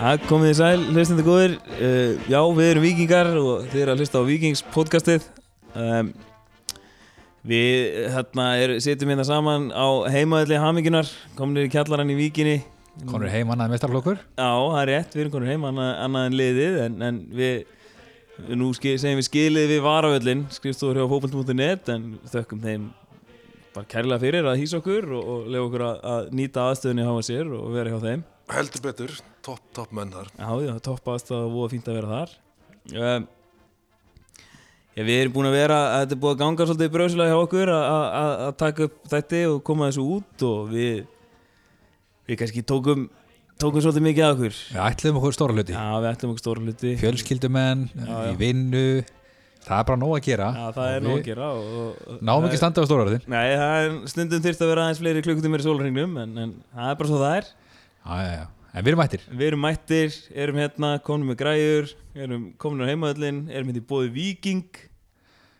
Það komið í sæl, hlustandi góðir uh, Já, við erum vikingar og þið eru að hlusta á Vikings podcastið um, Við hérna, er, setjum hérna saman á heimaðli hamingunar Komnir í kjallarann í vikinni Mm. Konur heim annað mestarflokkur Já, það er rétt, við erum konur heima annað, annað en liðið En, en við, nú ski, segjum við skilið við varavöllin Skrifstofur hjá fókbalt.net En þökkum þeim bara kærlega fyrir að hýsa okkur Og, og lefa okkur að, að nýta aðstöðunni hafa sér og vera hjá þeim Heldur betur, topp, topp menn þar Já, já, toppast og voða fínt að vera þar um, Já, við erum búin að vera þetta er búið að ganga svolítið bröðsilega hjá okkur að- að að- að taka upp þetta og koma þessu út og við við kannski tókum tókum svolítið mikið að okkur Við ætlum okkur stóra hluti Já, við ætlum okkur stóra hluti Fjölskyldumenn, í vinnu Það er bara nóg að gera Já, það er Og nóg við að gera og, og, Náum ekki standa á stóra hlutin Nei, það er stundum þyrst að vera aðeins fleiri klukkutímur í sólringnum en, en það er bara svo það er Já, já, já En við erum mættir Við erum mættir, erum hérna, komnum með græjur erum komin á heimaðallin, erum hérna í bóði Viking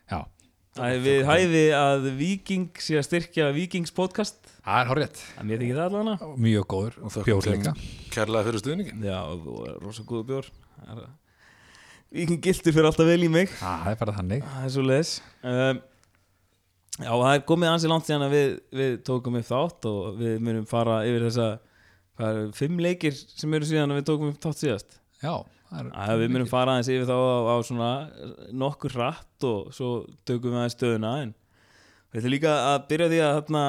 Já, Það er við hæfi að Viking sé að styrkja Vikings podcast það er horrið að mér þykir það allan að Mjög góður Og þökkum bjóðleika Kærlega fyrir stuðningin Já, og rosa góðu bjór Það er að- Viking gildur fyrir alltaf vel í mig Það er bara þannig Það er svo leis um, Já, það er komið ansi langt síðan að við, við tókum upp þátt og við munum fara yfir þessa hvað er, fimm leikir sem eru síðan að við tókum upp þátt síðast Já, það er að Við munum fara aðeins yfir þá á, á svona nokkur hratt og svo tökum við aðeins stöðuna en við ætlum líka að byrja á því að þarna,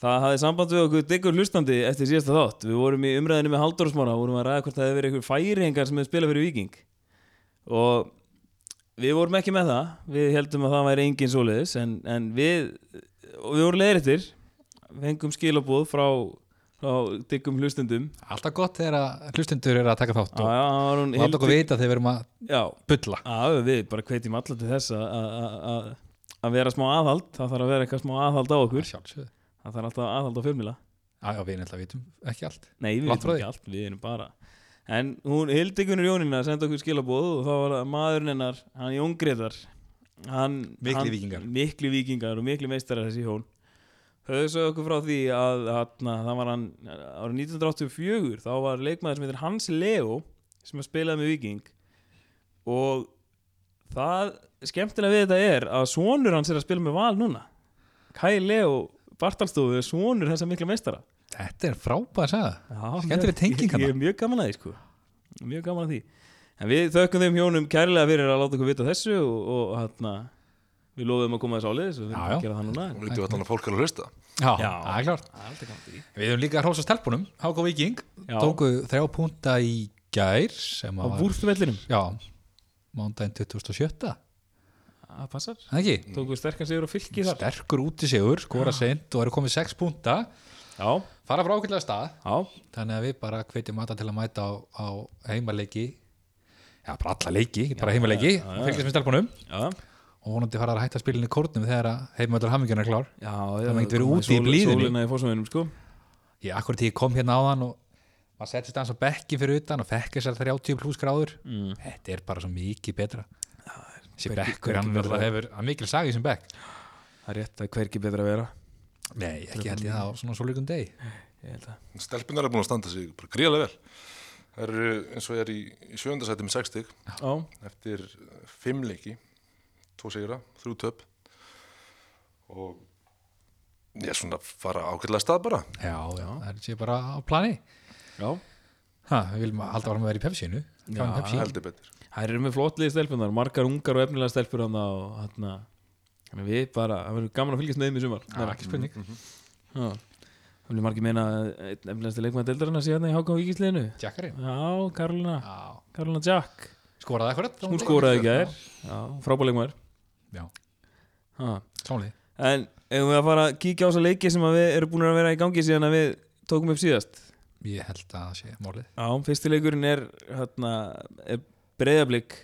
það hafði samband við okkur diggur hlustandi eftir síðasta þátt við vorum í umræðinu með Halldórsmára vorum að ræða hvort það hefði verið einhver færingar sem hefði spilað fyrir Viking og við vorum ekki með það við heldum að það væri engin svoleiðis en, en við, og við vorum leiðir eftir fengum skilabóð frá, frá diggum hlustendum Alltaf gott þegar að hlustendur eru að taka þátt Já, og já, það var hún láta okkur Hildur- vita þegar við erum að Já, bulla Já, við bara hvetjum alla til þess að- að að- að vera smá aðhald, það þarf að vera eitthvað smá aðhald á okkur, Sjálfsögðu það þarf alltaf aðhald á fjölmila. Já, já, við náttúrulega vitum ekki allt Nei, við Langt veitum frá ekki allt, við erum bara. En hún hildi Gunnar Jónína að senda okkur skilabóð og þá var það maðurinn hennar, hann Jón Gretar, hann... Miklir hann- víkingar. Miklir vikingar og miklir meistarar þessi hjón. Höfðu svo okkur frá því að hana, það var hann, árið 1984, þá var leikmaður sem heitir Hans Leo sem að spilaði með viking og það skemmtilega við þetta er að sonur hans er að spila með val núna Kai Leo Bartalstofu er sonur þessa mikla meistara Þetta er frábæð að segja Já, Skemmtileg mjög- tenging ég, hana. ég er mjög gaman að því sko Mjög gaman að því En við þökkum þeim hjónum kærlega fyrir að láta okkur vita þessu og, og hérna við lofum að koma þessu áliðis og við Já, erum já. að gera það núna en- Veitum við allan að fólk er að hlusta Já, Já. það er klart Það er alltaf gaman að því Við erum líka að hrósa stelpunum, HK Viking Já. tóku þrjá púnta í gær Á sem að var búrstumellinum, já, mándaginn 2007 það passar Það ekki, Tókum við sterkan sigur og fylki þar sterkur út í sigur skora seint og eru komið 6 púnta Já, fara frá ákveðlega stað já, þannig að við bara hvetjum alla til að mæta á, á heimaleiki já, bara alla leiki, ekki bara heimaleiki og fylgjast með stelpunum já og vonandi fara að hætta að spila inn í kórnum þegar að heimöldur hamingjarnar er klár Já, já, Það mætti verið koma úti í sól- blíðunni. Sólina í fórsvæðinum sko ég akkur til ég kom hérna áðan og maður settist aðeins á bekkin fyrir utan og fekk þessar 30 pluss gráður mm. þetta er bara svo mikið betra þessi bekkur hann náttúrulega hefur að mikil sagi sem bekk Það er rétt, það er hvergi betra að vera nei, ekki held ég það Hérna á svona svolíkum deg Ég held að Stelpunar er búin að standa sig bara gríðarlega vel Það eru eins og ég er í, í sjöndasæti með 6 stig Já, eftir eh, fimm leiki tvo sigra, þrjú töp og ég er svona að fara ágætlega af stað bara já, já, það er sér bara á plani já ha, við viljum að halda varum að vera í pepsinu já, pepsi. heldur betur Það eru með flottlið stelpunar, margar ungar og efnilega stelpur hann og hérna Þannig að við bara, það verður gaman að fylgjast með þeim í sumar það er ekki spurning Já. Það vil margir meina að einn efnilegasti leikmaður deildarinnar sé hérna í HK Víkisliðinu Jackarinn Já, Karolina, Já. Karolina Jack skoraði akkurat Hún skoraði ekki þær Já, frábæð leikmaður já, Já. samlið En eigum við að fara að kíkja á þessa leiki sem að við erum búin að vera í gangi síðan að við tókum upp síðast ég held að það sé málið Já, fyrsti leikurinn er, hérna, er breyðablík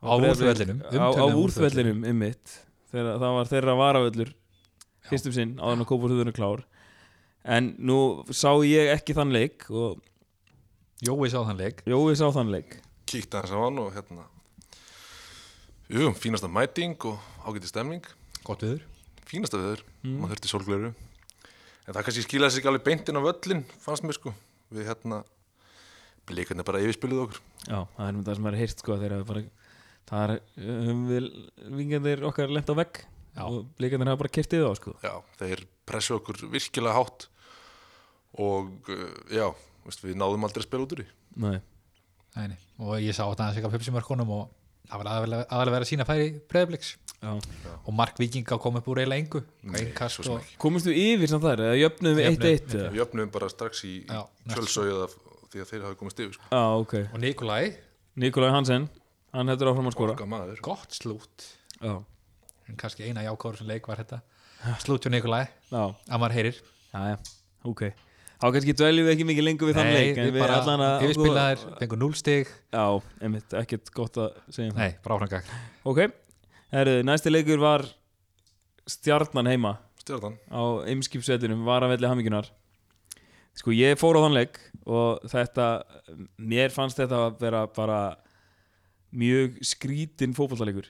á úrþvellinum á, á úrþvellinum ymmit þegar það var þeirra varavöllur fyrstum sinn áðan að kópa húðunum klár en nú sá ég ekki þann leik og Jói sá þann leik Jói sá þann leik kíkti hans á hann og hérna jú, fínasta mæting og ágæti stemning gott viður fínasta viður, Mm. maður þurfti sólgleru en það kannski skilaði sig ekki alveg beint inn á völlin fannst mér sko við hérna Blikarnir bara yfirspiluð okkur Já, það er það sem er heyrt sko þegar við bara það er um við vingandir okkar lent á vegg Já. og blikandir hafa bara kertið á sko Já, þeir pressu okkur virkilega hátt og uh, já, veist, við náðum aldrei að spila út úr því Nei, Nei, nei. og ég sá þetta aðeins eitthvað pepsimörkunum og það var aðalega að vera sína færi breyðbliks já og Mark Víkinga kom upp úr eiginlega engu einkast svo og Komist þú yfir samt þar, eða jöfnuðum við Jöfnuðum, 1-1 eða? Við öfnum bara strax í Já, næst. fjölsauða því að þeir hafi komist yfir sko. Já, ok og Nikolai, Nikolaj Hansen, hann heldur áfram að skora Okkar maður gott slút Já, en kannski eina jákóður sem leik var þetta slút hjá Nikolai, já, að maður heyrir já, já, ok Þá kannski dveljum við ekki mikið lengur við þann leik en við bara allan að- yfirspilaðir, fengur núlstig Já, einmitt, ekkert gott að segja um það nei, bara áframgag Ok, herru, næsti leikur var Stjarnan heima Stjartan, á ymskipsvetinum var að velli hamingjunar sko ég fór á þann leik og þetta, mér fannst þetta að vera bara mjög skrítin fótballalegur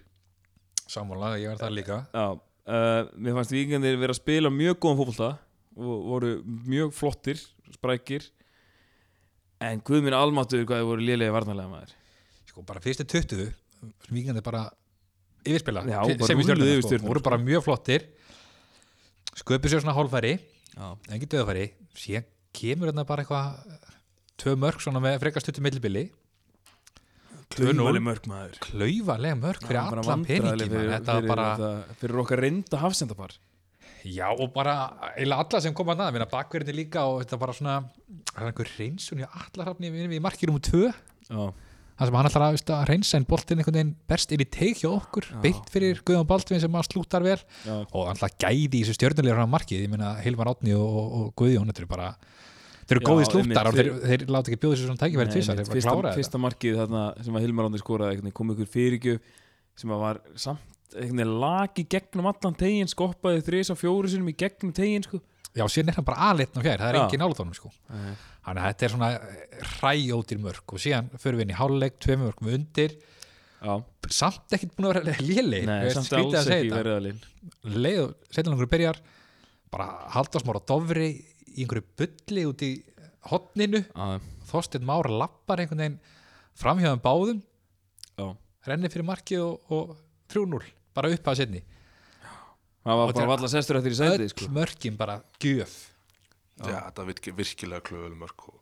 sammála, ég var það líka já, uh, mér fannst vikingandir vera að spila mjög góðan fótballta og voru mjög flottir, sprækir en guð minn almáttur hvað þið voru lélegi varnarlega maður sko bara fyrstu 20 sem vikandi bara yfirspila Já, til- bara sem í rulluðu stjórnum yfir sko. Stjörnuna, voru bara mjög flottir sköpu sér svona hálfæri já, en ekki döðafæri síðan kemur þarna bara eitthvað eh, tvö mörg svona með frekar stuttum millibili klunumali mörg maður klaufalega mörg Það fyrir var bara allan peningi vandræðaleg fyrir, fyrir, þetta var fyrir, bara, þetta- fyrir okkar reynda hafsendapar já og bara eila alla sem koma að minna bakverðinni líka og þetta bara svona, það er einhver reynsun í allarhafni við, við markir um tvö já, það sem hann ætlar að, veist, að reynsa en boltinn einhvern veginn berst inn í teik hjá okkur beint fyrir Guðjón Baldvin sem að slútar vel já, og alltaf gæði í þessu stjörnulegur hann markið, ég meina Hilmar Átni og, og, og Guðjón, þetta eru bara þeir eru Já, góði einmitt, slúttar og þeir, þeir láta ekki bjóða sér svona tækifæri Nei, tvisar, einmitt. þeir bara fyrsta, klára þetta fyrsta markið þarna sem að Hilmar Ándir skoraði einhvern veginn, kom ykkur fyrirgjöf sem að var samt einhvern veginn laki gegnum allan tegin skoppaði þrís á fjóru sinum í gegnum tegin sko. já, síðan er hann bara aðleitt og fjær, það er Já. engin álutónum sko þannig að þetta er svona eh, hræjótir mörg og síðan förum við inn í háluleik, tveimur mörgum undir já, samt ekkert búin að vera léleg nei, samt alls ekki verið að linn leið og setjum langur byrjar bara halda smára dofri í einhverju bulli út í hotninu Þorsteinn Már lappar einhvern veginn framhjáðum báðum renni fyrir markið og, og 3-0 bara upp að setni það Og var bara þetta- valla sestur eftir í öll sæti sko. mörkin bara gjöf já, það virki, virkilega klöðuleg mörg og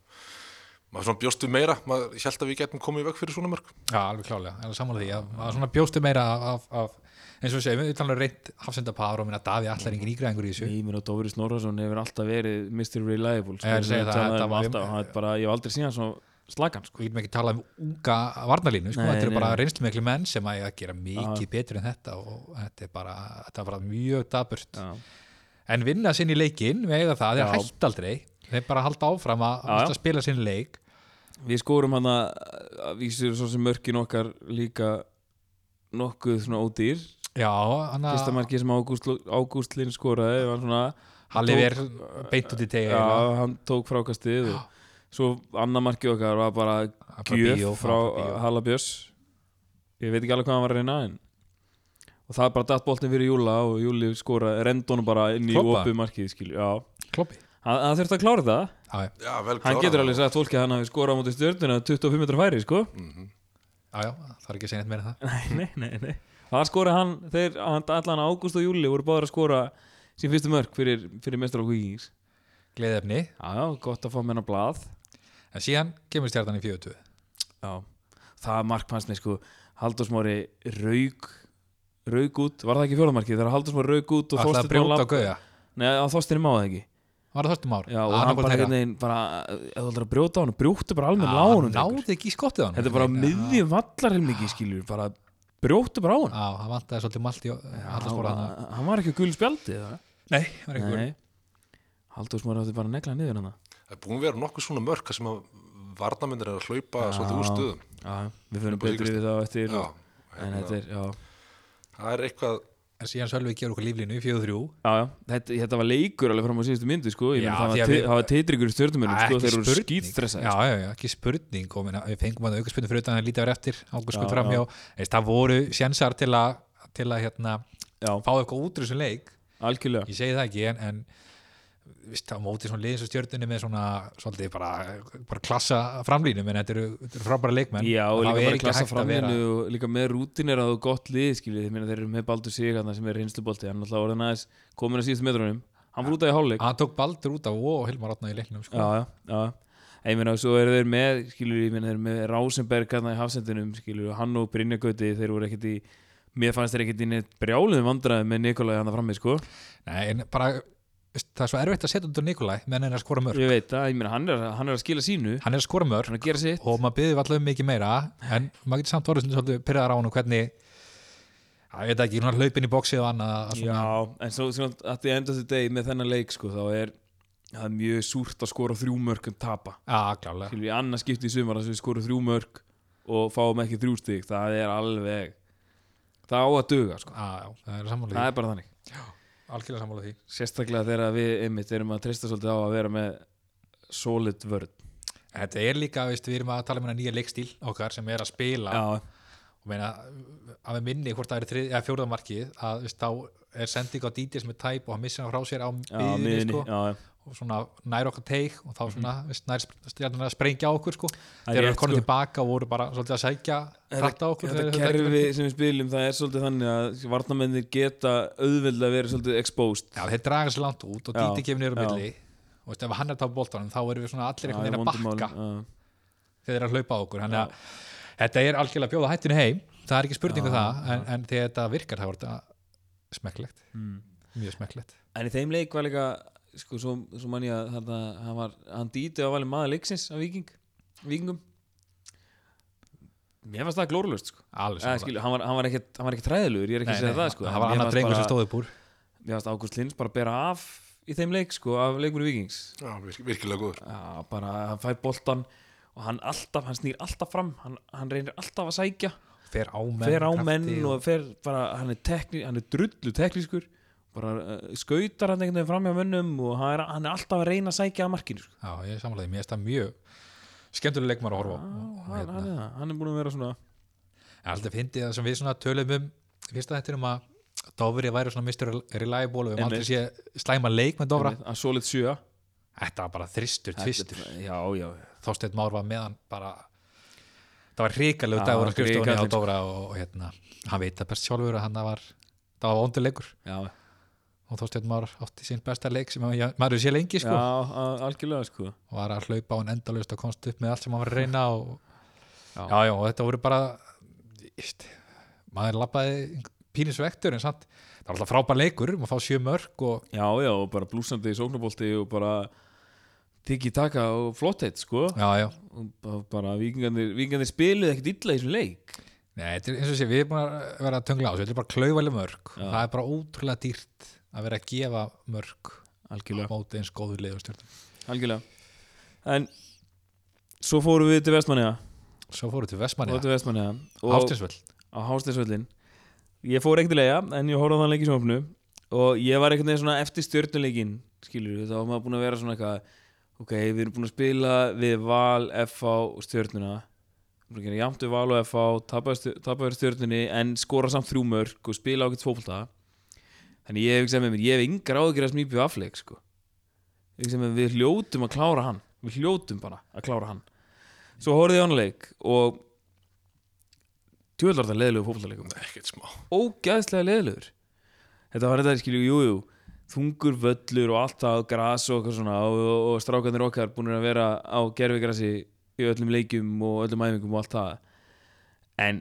maður svona bjóstu meira maður ég held að við getum komið í veg fyrir svona mörg já, alveg klálega, alveg sammála því að, að svona bjóstu meira af, af, af eins og við segjum, við talaðum reynt hafsendapar og minna Daví allar engin ígræðingur í þessu Ímir og Dóri Snorrason hefur alltaf verið Mr. Reliable sko. Ég er að segja Við það, talaðum þetta um var- alltaf, hann er bara, ég hef aldrei síðan svona slagan sko. sko, ég getum ekki talað um unga varnalínu, sko, Nei, þetta eru nei, bara nei. reynslu miklu menn sem að eiga að gera mikið betur en þetta og þetta er bara, þetta er bara mjög daburt. Já. En vinna sinni leikinn, við eiga það, þeir Já. hætt aldrei, þeir bara halda áfram að, Já, já. að spila sinni leik. Við skorum hann að vísir svo sem mörkin okkar líka nokkuð svona ódýr Já, hann fyrsta að markið sem Ágúst, Ágúst Linn skoraði var svona, Halli tók- verð beint út í tegi. já, hann tók frákastið og svo annað markið okkar var bara bara gjöf bíó, frá bara bíó. Halla Björns ég veit ekki alveg hvað hann var að reyna en og það bara datt boltin fyrir Júla og Júli skoraði, rendi honum bara inn í Klobba? opið markið skilju, já Kloppi. Hann, hann þurfti að klára það, Já, já, já, vel hann klárað. getur alveg sagt fólki að hann hafi skorað á móti stjörnuna 25 metra færi sko já, já, það er ekki að segja neitt meira en það. Nei, nei, nei, nei. Það skora hann, þeir, hann, allan Ágúst og Júli voru báður að skora sín fyrstu mörk fyrir, fyrir mestar og vikings. Gleðefni. Já, já, gott að fá með hennar blað. En síðan kemur stjartan í 40. Já, það er markmannsni, sko, Haldursmári rauk, rauk út, var það ekki fjólamarkið, þegar Haldursmári rauk út og Það er að Þorsteinn var brjóta labb- og gauja. Nei, að Þorsteinn má það ekki. Var það þorstum ár? Já, og hann bara hérna einhvern veginn, bara, ef þú ætlar að brjóta á hann, brjóttu bara alveg lánum. drengur. Náði ekki í skottið á hann. Þetta er bara miðjum vallarhelmingi, skilur, bara brjóttu bara á hann. Já, það vantaði svolítið malt í allarsmóra hann. hann hann var ekki að gul spjaldi, það. Nei, það var einhver. Nei, Halldór Smári átti bara að negla niður hérna. hana það er búin að vera nokkuð svona mörg sem að varnamennir er að hlaupa svolítið úr stöðum já, Við fyrir bara betri við það á eftir já, og, En þetta er, já það er eitthvað En síðan Sölvi gefur okkur líflínu í 4-3. Já, já, þetta, þetta var leikur alveg fram á síðustu myndu sko. Ég Já, meina, það því var að te- við- Ah, það var teitrikur í stjórnumönnum sko, Ekki þeir eru spurning. skýtstressaði Já, já, já, ekki spurning og minna, við fengum að auka spurning fyrir utan að lítið verið eftir águst Já, skuld fram hjá, Eist, það voru sjensar til að, til að hérna, já, fá eitthvað út úr þessum leik algjörlega ég segi það ekki, en, en vist, á móti svona liðins og stjörnunni með svona svolítið bara, bara klassa framlínu menn þetta eru, þetta eru frábæra leikmenn Já, og og þá líka er bara ekki klassa hægt að vera- framlínu og líka með rútinir að þú gott lið, skiljið, þeir meina þeir eru með Baldur Sigurðarna sem er hinslubolti, hann alltaf orðin aðeins komin á síðustu metrunum, hann fór út af í hálfleik hann tók Baldur út af og Hilmar Otna í leiknum sko. Já, já, já Ég meina, og svo eru þeir með, skilur, ég meina, þeir eru með Rásenberg hérna í hafsendunum, skilur, og hann og Brynjagöti, þeir voru ekkert í, mér fannst þeir ekkert í neitt brjáluðum vandræðum með Nikolai hann frammi, sko. Nei, en bara, veist, það er svo erfitt að setja út á Nikolai menn hann er að skora mörg Ég veit það, ég meina, hann er, hann er að skila sínu, hann er að skora mörg hann er að gera sitt. og maður byggði allavega mikið meira en maður getur samt orðið svona svolítið pyrraðar á hann og hvernig að ég veit ekki, hann hlaupin í bóksið og annað að svona, Já, en svo, svona, að því enda þetta degi með þennan leik, sko, þá er, það er mjög súrt að skora þrjú mörg en tapa. já, klálega Skilur, í annars skipti í sumar að við skorum þrjú mörg og fáum ekki þrjú stig, það er alveg, það á að duga, sko. Já, já, það er sammála Það því, er bara þannig. algjörlega sammála því Sérstaklega þegar við einmitt erum að treysta svolítið á að vera með solid vörð Þetta er líka, veist, við erum að tala um hennar nýja leikstíl okkar sem er að spila Já, og meina, að við minni hvort það er þrið, eða fjóruðamarkið að veist, þá er sending á díti sem er tæp og hann missir hann frá sér á já, miðinni miðinni sko, já, og svona nær okkar teik og þá svona, Mhm. veist, nær stjarnan að sprengja á okkur sko. Það er þegar rétt, við konum sko. tilbaka og voru bara svolítið að sækja rætt á okkur Þetta þegar þeir- kerfi sem við spilum það er svolítið þannig að varnamennir geta auðveldlega verið svolítið exposed Já, þeir draga sér langt út og Já, díti kemur niður á já. milli og veist, ef hann er að tafa boltanum þá erum við svona allir einhvern veginn að vondum bakka málum, þegar þeir eru að hlaupa á okkur þannig að þetta er algjörlega að bjóða hættinu heim það er ekki spurningu Já, það, en, en þegar þetta virkar þá er þetta smekklegt já. Mm. mjög smekklegt En í þeim leik var líka sko, svo, svo mann ég að þarna, hann, var, hann dýti að valið maður leiksins af viking, vikingum Mér fannst það glórulust sko. alveg Eða, skilu, hann, var, hann, var ekkit, hann var ekkit træðilugur, ég er ekki að segja það sko. það var Mér annar fannst drengur bara- sem stóð upp úr Mér fannst Ágúst Lins bara að bera af í þeim leik sko, af leikunum Vikings Já, virk, virkilega góður. Já, bara hann fær boltan og hann alltaf, hann snýr alltaf fram hann, hann reynir alltaf að sækja fer á menn, fer á krafti menn og fer bara hann er, tekni, hann er drullu teknískur bara uh, skautar hann einhvern veginn fram hjá mönnum og hann er, hann er alltaf að reyna að sækja að markinu sko. já, ég er samanlega, mér finnst það mjög skemmtuleg leikmar að horfa á Og- og hann, hérna, hann, er, það, hann er búin að vera svona ég held að fyndi það sem við svona tölum um fyrst að þetta er um að Dofri væri svona Mr. Reliable og við höfum aldrei sé slæma leik með Dofra að solid sjö þetta var bara þristur, tvistur já, já, Þorsteinn Már var með hann bara það var hrikalegu Já, dagur á skrifstofunni á hrikalegur. Dofra og, og hérna, hann veit það best sjálfur að hann var, það var vonduleikur já, og Þorsteinn Már átti sín besta leik sem hann- maður hefur sé lengi já sko a- algjörlega sko og var að hlaupa á hann endalaust og komst upp með allt sem hann var að reyna og Já. já, já, og þetta voru bara íst, maður labbaði pínisvektur en samt, það var alltaf frábær leikur maður fá sjö mörg og já, já, og bara blúsandi í sóknabólti og bara tiki taka og flott heitt sko já, já, og bara, bara vikingarnir, vikingarnir spiluðu ekkert illa í þessum leik Nei, þetta er eins og sé, við erum búin að vera að töngla á þessu, þetta er bara klauvaleg mörg Já. það er bara ótrúlega dýrt að vera að gefa mörg á algjörlega, móti eins góðu lið og stjórnum algjörlega. en svo fórum við til Vestmanniða Svo fóru til og Vestmanni, til Vestmanniða og Hástinsvöld á Hásteinsvöllin ég fór ekkert í leiða en ég horfði á þann leik í sjónfnu og ég var einhvern veginn svona eftir stjörnuleikin skilur við, þá var maður búin að vera svona eitthvað ok, við erum búin að spila við Val, FH og stjörnuna Við erum búin að gera jafnt við Val og FH tapa stjör- tapa verið stjörnunni en skora samt þrjú mörg og spila ágætt fótbolta þannig ég hef ekki sem með mér ég hef yngra áðgjur að smýpi afleik sko. Ég hugsa með mér, við hljótum að klára hann við hljótum bara að klára hann svo horfði ég á hann leik og tjóðlar það leðilegu fótboltaleikum Ekkert smá. ógæðslega leðilegur þetta var þetta skilju, jú, jú þungur völlur og allt það og gras og eitthvað svona og, og, og strákanir okkar búin að vera á gerfigrasi í öllum leikjum og öllum æfingum og allt það en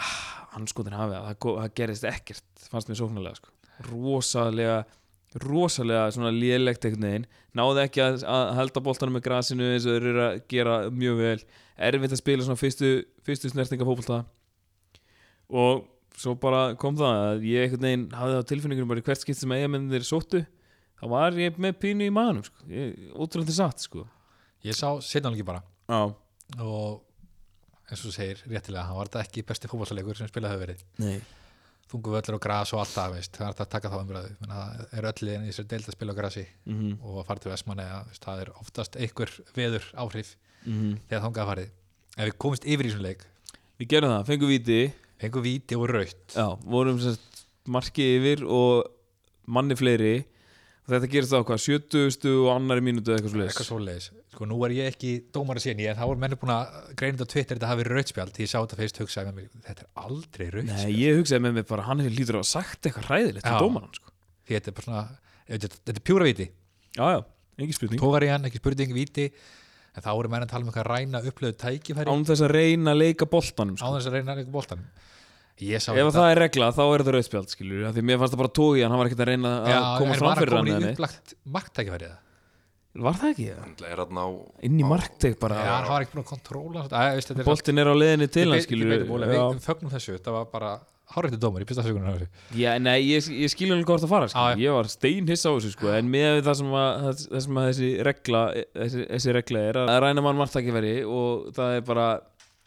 ah, anskotin hafið að það, ko- það gerist ekkert fannst mér sóknarlega sko. rosalega rosalega svona lélegt einhvern veginn náði ekki að, að helda boltanum með grasinu eins og þeir eru að gera mjög vel erfitt að spila svona fyrstu, fyrstu snertinga fótbolta og svo bara kom það að ég einhvern veginn hafði það á tilfinningunum bara í hvert skipt sem eigamennir sóttu þá var ég með pínu í maðanum sko. Ég- ótrúlega til satt sko. Ég sá setjanleiki bara Já, og eins og þú segir réttilega, hann var þetta ekki besti fótballsleikur sem spilað hefur verið nei þungu völlur og gras og allt það, veist það er hægt að taka þá umræðu, Menna, það er öll liðin í þessu deild að spila á grasi mm -hmm. og að fara til Vestmanni, það er oftast einhver veður áhrif þegar þangað farið ef við komist yfir í svona leik mhm. Við gerum það, fengum víti fengum víti og raut Já, vorum sérst marki yfir og manni fleiri og þetta gerist á hvað, 70 og annari mínútu eða eitthvað svo eitthvað svoleiðis sko nú er ég ekki dómar að sé en ég en þá er mennir búin að greina þetta á Twitter þetta hafi rautspjald því ég sá þetta fyrst hugsaði með mér þetta er aldrei Nei, rautspjald ég hugsaði með mér bara, hann hefur lítur á að hafa sagt eitthvað hræðilegt til Já. dómarann, sko. því þetta er bara svona þetta, þetta er pjúra viti Já, já, engin spurning. tógar í hann ekki spurning viti en þá eru menn að tala um eitthvað ræna upplöðu tækifæri Án þess að reyna að leika boltanum, sko. á þess að reyna eitthvað boltan ég sá Ef það er regla, þá er það rauðspjald, skilur við, því mér fannst það bara tógi hann, hann var ekkert að reyna að Já, koma en fram fyrir var hann hann eða komin í neitt. upplagt marktækifæri eða? Var það ekki það? Þannig er hann á Inn í markteg Já, bara, hann var ekki búin að kontróla hann, að, veist, þetta er boltin er á leiðinni til Ég be- hann, ég skilur beit á bólu, Já. Við fögnum þessu, þetta var bara Hárreittu dómar, ég pista söguna á þessu Já, nei, ég, ég skilur alveg hvort að fara, Já, skilur já. Ég var steinhissa á þessu, sko, en með það sem, að, það- það sem að þessi regla, þessi, þessi regla er að ræna mann margtækifæri og það er bara,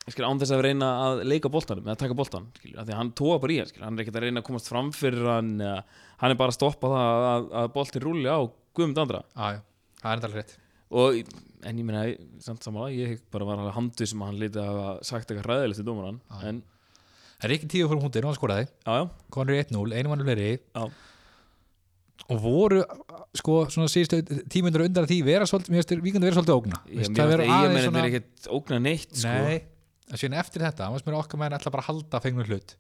skilur, án þess að reyna að leika boltanum, eða taka boltan, skilur, af því að hann tóa bara í hann, skilur, hann er ekkert að reyna að komast fram fyrir hann, eða, hann er bara að stoppa það að, að, að boltin rúli á guðmund andra Já, já, það er enda alveg rétt og, en ég meina, samt samanlega, ég bara var alveg handið sem að hann lítið að hafa sagt eitthvað hræðilegt í dómarann, Já. en, Það er ekki tíu fyrir hundir og hann skoraði já, já, Konur í 1-0, einu mann fleiri já, og voru, sko, svona síðustu tímundur undan því vera svolítið, mér finnst vikandi vera svolítið að ógna ég, Veist, mér vera finnst að ég meina, þetta er ekkert ógna neitt, sko Nei, en síðan eftir þetta, maður sem er okkar menn ætla bara að halda fengnum hlut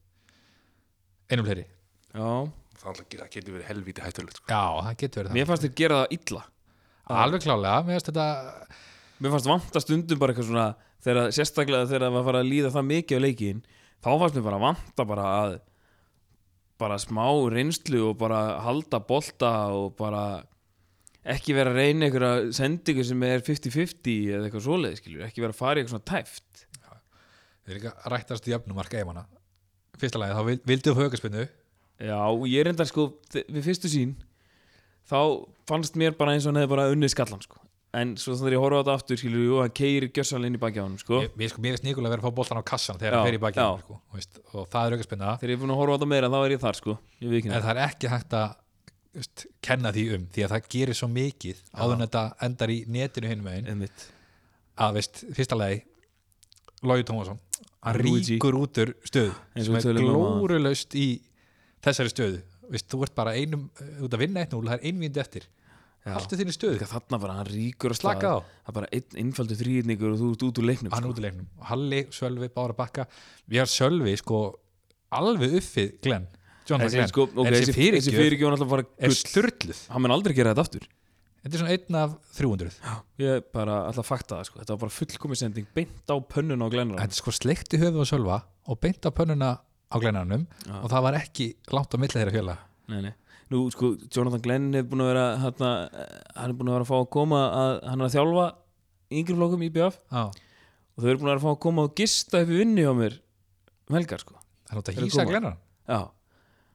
Einum fleiri Já, Það getur verið helvíti hættulegt sko. Já, það getur verið Mér fannst þér gera það illa það Alveg klálega, mér finnst þetta Mér fannst vanta stundum bara eitthvað svona þegar, sérstaklega þegar það var að fara að líða það mikið á leikin þá fannst mér bara vanta bara að bara smá reynslu og bara halda bolta og bara ekki vera að reyna einhverja sendingu sem er 50-50 eða eitthvað svoleiði skilur ekki vera að fara í eitthvað svona tæft Þeir líka rættast jöfnumark eimanna Fyrsta lagi, þá vil- vildu þú högaspinnu Já, ég reyndar sko þe- við fyrstu sín þá fannst mér bara eins og hann hefði bara unnið skallan sko en svo þannig að ég horfa á þetta aftur skilur jú, hann keiri gjössanlega inn í bakið á hann sko Ég- Mér sko, mér finnst Nikola verið að fá boltan á kassan þegar Já, hann fer í bakið á já. mér, sko, þú veist, og það er aukaspinna Þegar ég er búin að horfa á þetta meira þá er ég þar sko Ég en viðkynna það er ekki hægt að þú veist, kenna því um því að það gerir svo mikið áður en þetta endar í netinu hinn megin Einmitt að veist, fyrsta lagi Lói Tómasson, hann Luigi. ríkur út úr stöðu Eins og sem við er tölum um áðan. glórulaust í þessari stöðu veist, þú ert bara einum, þú ert að vinna eitt núl það er einvínd eftir, haltu þinni stöðu Líka þarna bara hann ríkur og Slaka á. Það er bara einn innfaldu þrýðningur og þú ert út úr leiknum sko. hann út í leiknum, Halli, Sölvi, Bára Bakka við har Sölvi sko alveg uppfið Glenn, John Þessi, McGlenn sko, okay, en þessi fyrirgjöf fyrirgjöf hann alltaf bara er gull störtluð Hann mun aldrei gera þetta aftur þetta er svona einn af 300 Ég bara alltaf fakta það sko Þetta var bara fullkomis sending Beint á pönnun og glennur þetta er sko sleikt í höfuð og sölva og beint á pönnuna á glennanum og það var ekki langt á milli þeirra fjöla Nei, nei Nú sko, Jonathan Glenn er búin að vera hana, Hann er búin að vera að fá að koma að, Hann er að þjálfa í yngri flokkum í BF á. Og þau eru búin að vera að fá að koma og gista upp í vinnu hjá mér Melgar sko það er út að Þeir hýsa koma. glennan Já,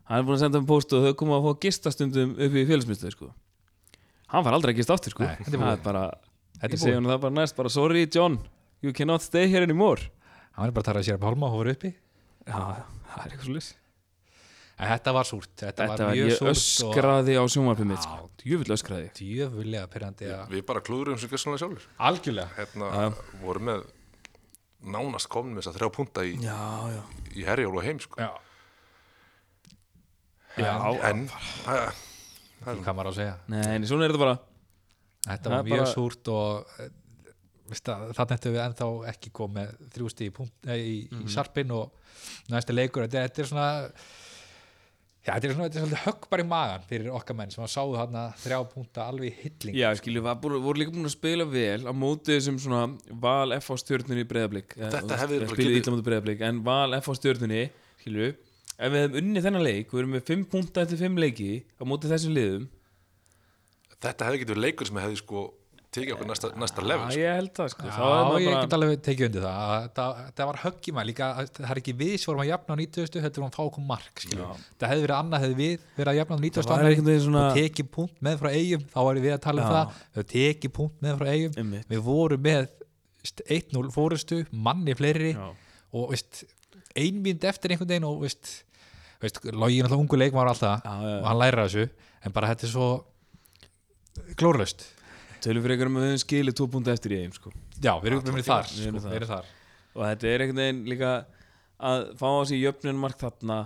hann er búin að senda um post og þau koma að fá að gista stundum upp í félagsmyndstöð sko. Hann var aldrei að gista aftur sko. Nei, þetta er Það búið. er bara, ég þetta er segi búið, hann það bara næst bara, sorry John, you cannot stay here anymore hann er bara að tara sér upp hálma og hófur uppi Já, það er eitthvað slis en þetta var súrt, þetta, Þetta var var mjög ég súrt og öskraði á sjónvarpið mitt sko. Jöfull öskraði ég. djöfulega pyrrandi að Við bara klúðurum sem gæstunlega sjálfur algjörlega, Hérna vorum með nánast komin með þess að þrjá punta í, Já, já í herjál og heim sko. já Já, En það hvað maður á að segja nei, nei, svona er þetta bara Þetta Það var er mjög bara- súrt og eh, veist að, þannig ættum við ennþá ekki komið þrjústi í, punkt, nei, í, Mhm. í sarpin og næsta leikur þetta, þetta er svona já, þetta er svona, þetta er svolítið högg bara í magan fyrir okkar menn sem að sáu þarna þrjá punta alveg í hilling Já, skiljum, við voru líka búin að spila vel á mótið sem svona val F á stjörnunni í breyðablík Þetta hefði bara spilið getið- ítla mútið breyðablík en val F á stjörnunni, skiljum ef við hefum unnið þennan leik, við erum með 5 punta eftir 5 leiki á mótið þessum liðum Þetta hefði getur verið leikur sem hefði sko tekið okkur næsta, næsta level Já, sko. ég held það sko. Já, Þá er maður ég bara- get alveg tekið undir það að það, það var högg í maður líka að það er ekki við sem vorum að jafna á 90 þetta vorum að fá okkur mark skilur við. það hefði verið annað hefði við verið að jafna á 90 Það var einhvern veginn svona- og tekið punkt með frá eigum þá erum við að tala Já. um það við tekið punkt með frá eigum Einmitt. við vorum með veist, 1-0 fórustu manni fleiri Já. og veist, einmynd eftir einhvern veginn og veist, veist, login alltaf ungu leikmar alltaf Já, já, já. og hann læra þessu en bara þetta er svo glórlaust Tölum fyrir einhverjum að við höfum skilið 2 punta eftir í þeim sko. já, við erum tók- við þar, við erum sko, þar. við erum þar. og þetta er einhvern veginn líka að fá á sig jöfnun mark þarna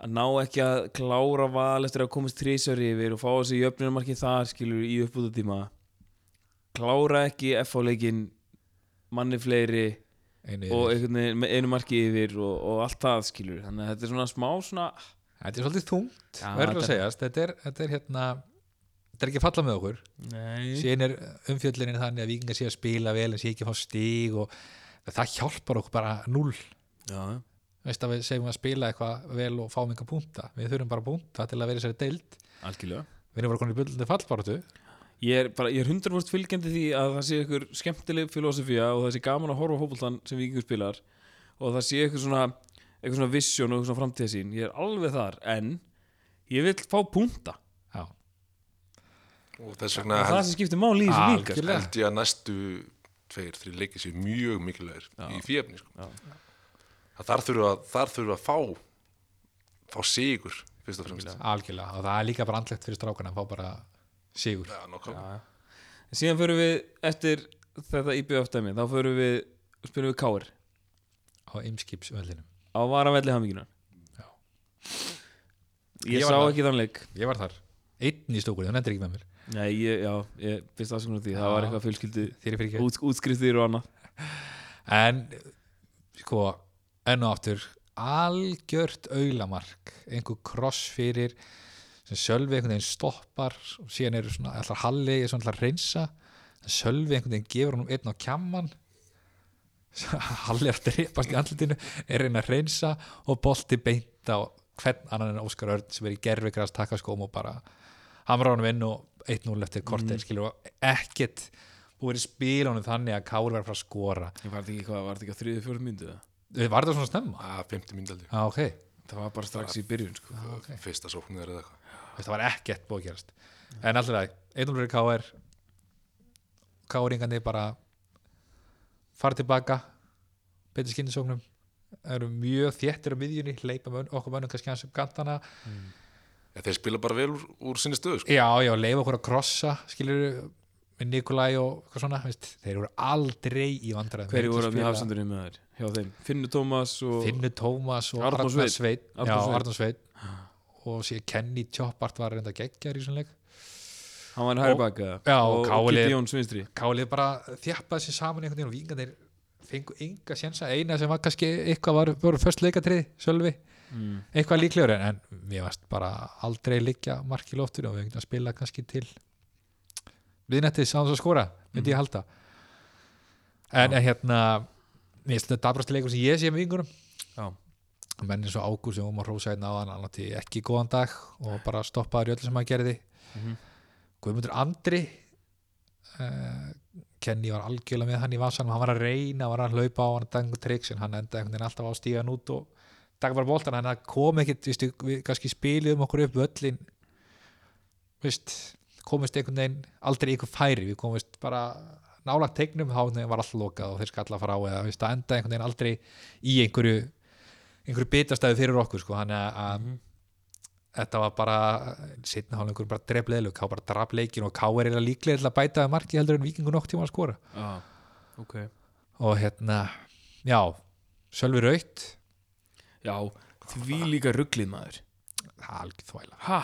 að ná ekki að klára val eftir að komast trísar yfir og fá þessi jöfnumarki þar skilur í uppbútatíma klára ekki FH-leikin manni fleiri einu, og eh, einhvern veginn með einu marki yfir og, og allt það skilur þannig að þetta er svona smá svona þetta er svolítið þungt Já, verður þetta- að segjast, þetta er, þetta er hérna þetta er ekki að falla með okkur Nei. síðan er umfjöllunin þannig að vikingar sé að spila vel en sé ekki að fá stig og það hjálpar okkur bara null Já, veist að við segjum að spila eitthvað vel og fáum einhver púnta, við þurfum bara púnta til að vera í þessari deild, algjörlega við erum bara konið bullandi fallbáratu, Ég er bara, ég er 100% fylgjandi því að það sé ykkur skemmtileg filosofía og það sé gaman að horfa á hópultan sem vikingur spilar og það sé ykkur svona, ykkur svona vision og ykkur svona framtíðasín. Ég er alveg þar, en ég vil fá punta. já, og þess vegna Það er það held, sem skiptir máli í þessu líka. Algjörlega. held ég að næstu tveir, þrjir leikir séu mjög mikilvægir í fjöfni sko. Það þar þurfa, þar þurfa að fá fá sigur fyrst og fremst algjörlega og það er líka bara andlegt fyrir strákana að fá bara sigur, Já, nokkvæm Síðan förum við eftir þetta IBF-dæmi, þá förum við, spilum við Káir á ymskipsvöldinum á varavelli haminginar. Já. Ég, Ég sá var þar. ekki þann leik. ég var þar, einn í stókunni, þú nefndir ekki með mér Nei, ég, já, ég byrst afsökunum því, það Já. var eitthvað fjölskyldu, þér er fyrir ekki, út, útskriftir og annað. en sko, enn og aftur algjört aulamark einhver kross fyrir sem Sölvi einhvern veginn stoppar og síðan eru svona, allar Halli er svona allar reynsa en Sölvi einhvern veginn gefur honum einn á kjamman Halli er að dreipast í andlutinu er að reyna að reynsa og bolti beint á hvern annan en Óskar Örn sem er í gerfigrast takkaskóm og bara hamra honum inn og 1-0 eftir kortir mm. skilur og ekkert búið að spila honum þannig að Kári var að fara að skora Ég var þetta ekki hvað, var þetta ekki að þriðið fjórum myndu það? Eh, Var það svona snemma? að 50 myndaldi, Já, ok Það var bara strax í byrjun sko. Ah, ok. fyrsta sóknir eða eitthvað Veist, það var ekkert búið að gerast en alltaf það, einn og fyrir K.R. K.R. ingandi bara fara tilbaka betur skinnisóknum eru mjög þéttir á miðjunni leipa mön, okkur mönnum kannski hans upp gantana En þeir spila bara vel úr, úr sinni stöðu sko. já, já, leifa okkur að krossa skilur með Nikolai og eitthvað svona veist, þeir voru aldrei í vandræðum Hverju voru að Spila- hafsendurinn með þær? Hjá þeim, Finnur Tómas og Finnur Tómas og Arnór Arnar Sveinn. Sveit Arnór já, Sveinn. Arnar Sveit og sér Kenny Tjóppart var reynda geggjar í svona leik hann var í hægri Og- baka Já, og, og og Káli- Kitty Jóns vinstri Kálið bara þjappaði sér saman einhvern veginn og vingarnir fengu enga sjensa eina sem var kannski eitthvað var, voru först leikatrið, Sölvi mm. eitthvað líklegur en, en mér varst bara aldrei liggja mark í loftinu og við einhvern að spila kannski til viðnættið sá þess að skora Mm. myndi ég halda en ja. hérna mér finnst þetta dabrasti leikur sem ég sé með vingurum Já, menn eins og Ágúr sem um að rósa einn aðan hann átti ekki góðan dag og bara stoppaði í öllu sem hann gerði Mhm. Guðmundur Andri uh, Kenny var algjörlega með hann í vasanum, hann var að reyna var að hlaupa á hann að dæðingu triks en hann endaði einhvern veginn alltaf á stígan út og dag bara boltan, hann kom ekkit viðst, við kannski spiliðum okkur upp öllin veist komist einhvern veginn aldrei í einhver færi við komist bara nálagt tegnum þá einhvern veginn var allt lokað og þeir skalla frá eða veist, það endaði einhvern veginn aldrei í einhverju einhverju bitastæðu fyrir okkur sko, þannig að- að þetta var bara sitna hálfingur bara drefleðilug, ká bara draf leikin og ká er eiginlega líklega til að bæta að marki heldur en vikingu nokk tíma að skora já, ok og hérna, já Sölvi Raut, Já, því líka rugglið maður algjör þvæla Ha?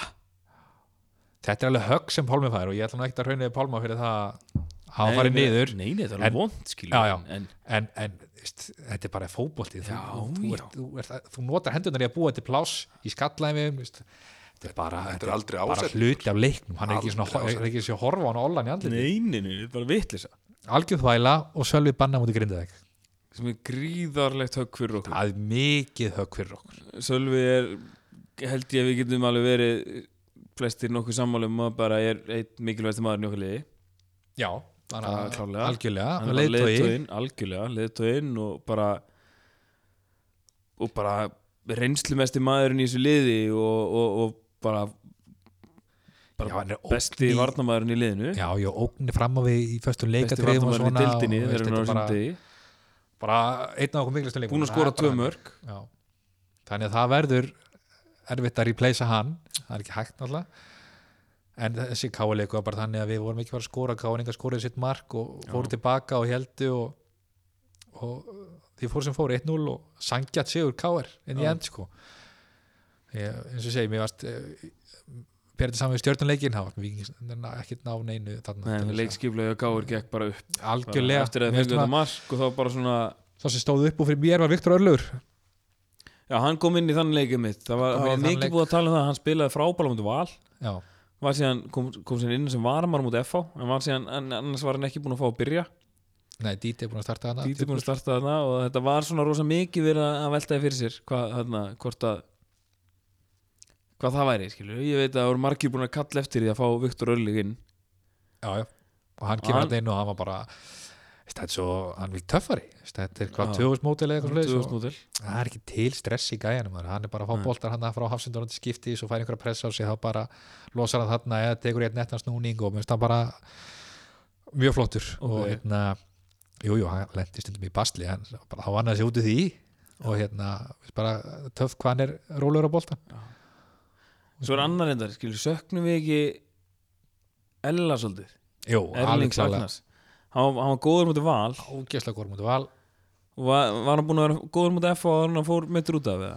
þetta er alveg högg sem Pálmi fær og ég ætla nú ekkert að hrauniði Pálma fyrir það að hafa farið Nei, niður Nei, nei, það er En- alveg vond skilur Já, já. En, en, en veist, þetta er bara fótboltið þú, Já, þú, já. ert, þú, ert, þú notar hendunar í að búa þetta pláss í skallæmum veist, þetta er bara, Þetta er aldrei bara ásetningur. hluti af leiknum hann er ekki, svona, Aldrei hann er ekki svona horfa á hann og olla hann í andliti nei, nei, nei, þetta er bara vitlisa algjörð þvæla og Sölvi banna múti grindaðeg sem er gríðarlegt högg fyrir okkur það er mikið högg fyrir okkur Sölvi er, held ég að við getum alveg verið flestir nokkuð sammálum að bara er eitt mikilvægst maður í okkar liði já, hann Það er klárlega. algjörlega hann var leiðtogi, leiðtóinn, algjörlega leiðtóinn og bara og bara reynslumesti maðurinn í þessu liði og, og, og bara, bara Já, hann er ógn besti í- varnamaðurinn í liðinu já, já, ógnir fram á við í föstum besti leikatrýðum og varnamaðurinn í svona og dildinni veist, þegar hann er á þetta er þessum bara, degi bara einn af okkur mikilvægstu leikum búin að skora tvö mörg já. þannig að það verður erfitt að replacea hann það er ekki hægt náttúrulega en þessi káleiku var bara þannig að við vorum ekki bara að skora káninga skoraði sitt mark og fóru tilbaka og heldu og, og því fór sem fór 1-0 og sangjat sigur káir inn í Já. end sko ég, eins og ég segi, mér varst eh, perandi saman við stjórnuleikin það var vikings ekki ná neinu þarna, Nei, leikskiplega gáur gekk bara upp algjörlega eftir að fengu Mér finnst þetta það- mark og þá bara svona sá sem stóð upp úr fyrir mér var Viktor Örlur já, hann kom inn í þann leikið mitt það var, Kom það var inn í þann mikið leik. búið að tala um það að hann spilaði frábæla mútið val já, var síðan, kom, kom síðan inn sem varamar mútið FH en var síðan, en, annars var hann ekki búin að fá að byrja nei, Díti er búin að starta hana Díti búin að starta þarna og þetta var svona rosa mikið verið að veltaði fyrir sér hvað, þarna, hvort að hvað það væri, skilur ég veit að það voru margir búin að kalla eftir því að fá Viktor Örlík inn já, já. og hann Og kemur hann- hann inn og hann var bara þetta er svo, hann vil töffari þetta er hvað Já. 2000 mótil eða eitthvað svoleiðis og- 2000 mótil. það er ekki til stress í gæjanum maður. hann er bara að fá Nei. boltar hann frá hafsindunum til skipti svo fær einhverja pressa á sig þá bara losar hann þarna eða tekur eitt nettan snúning og mér finnst hann bara mjög flottur og Ok. hérna jújú, jú, hann lendi stundum í basli hann bara, hann vann að sig út í því og hérna, finnst bara töff hvað hann er rólur á boltan svo er annar endar, skilur, söknum við ekki Ella svolítið Jú, alveg Erlings klálega Ragnars hann, var- hann var góður mútið val ógæslega góður mútu val og var, var hann búin að vera góður mútið FH og hann fór meittur út af það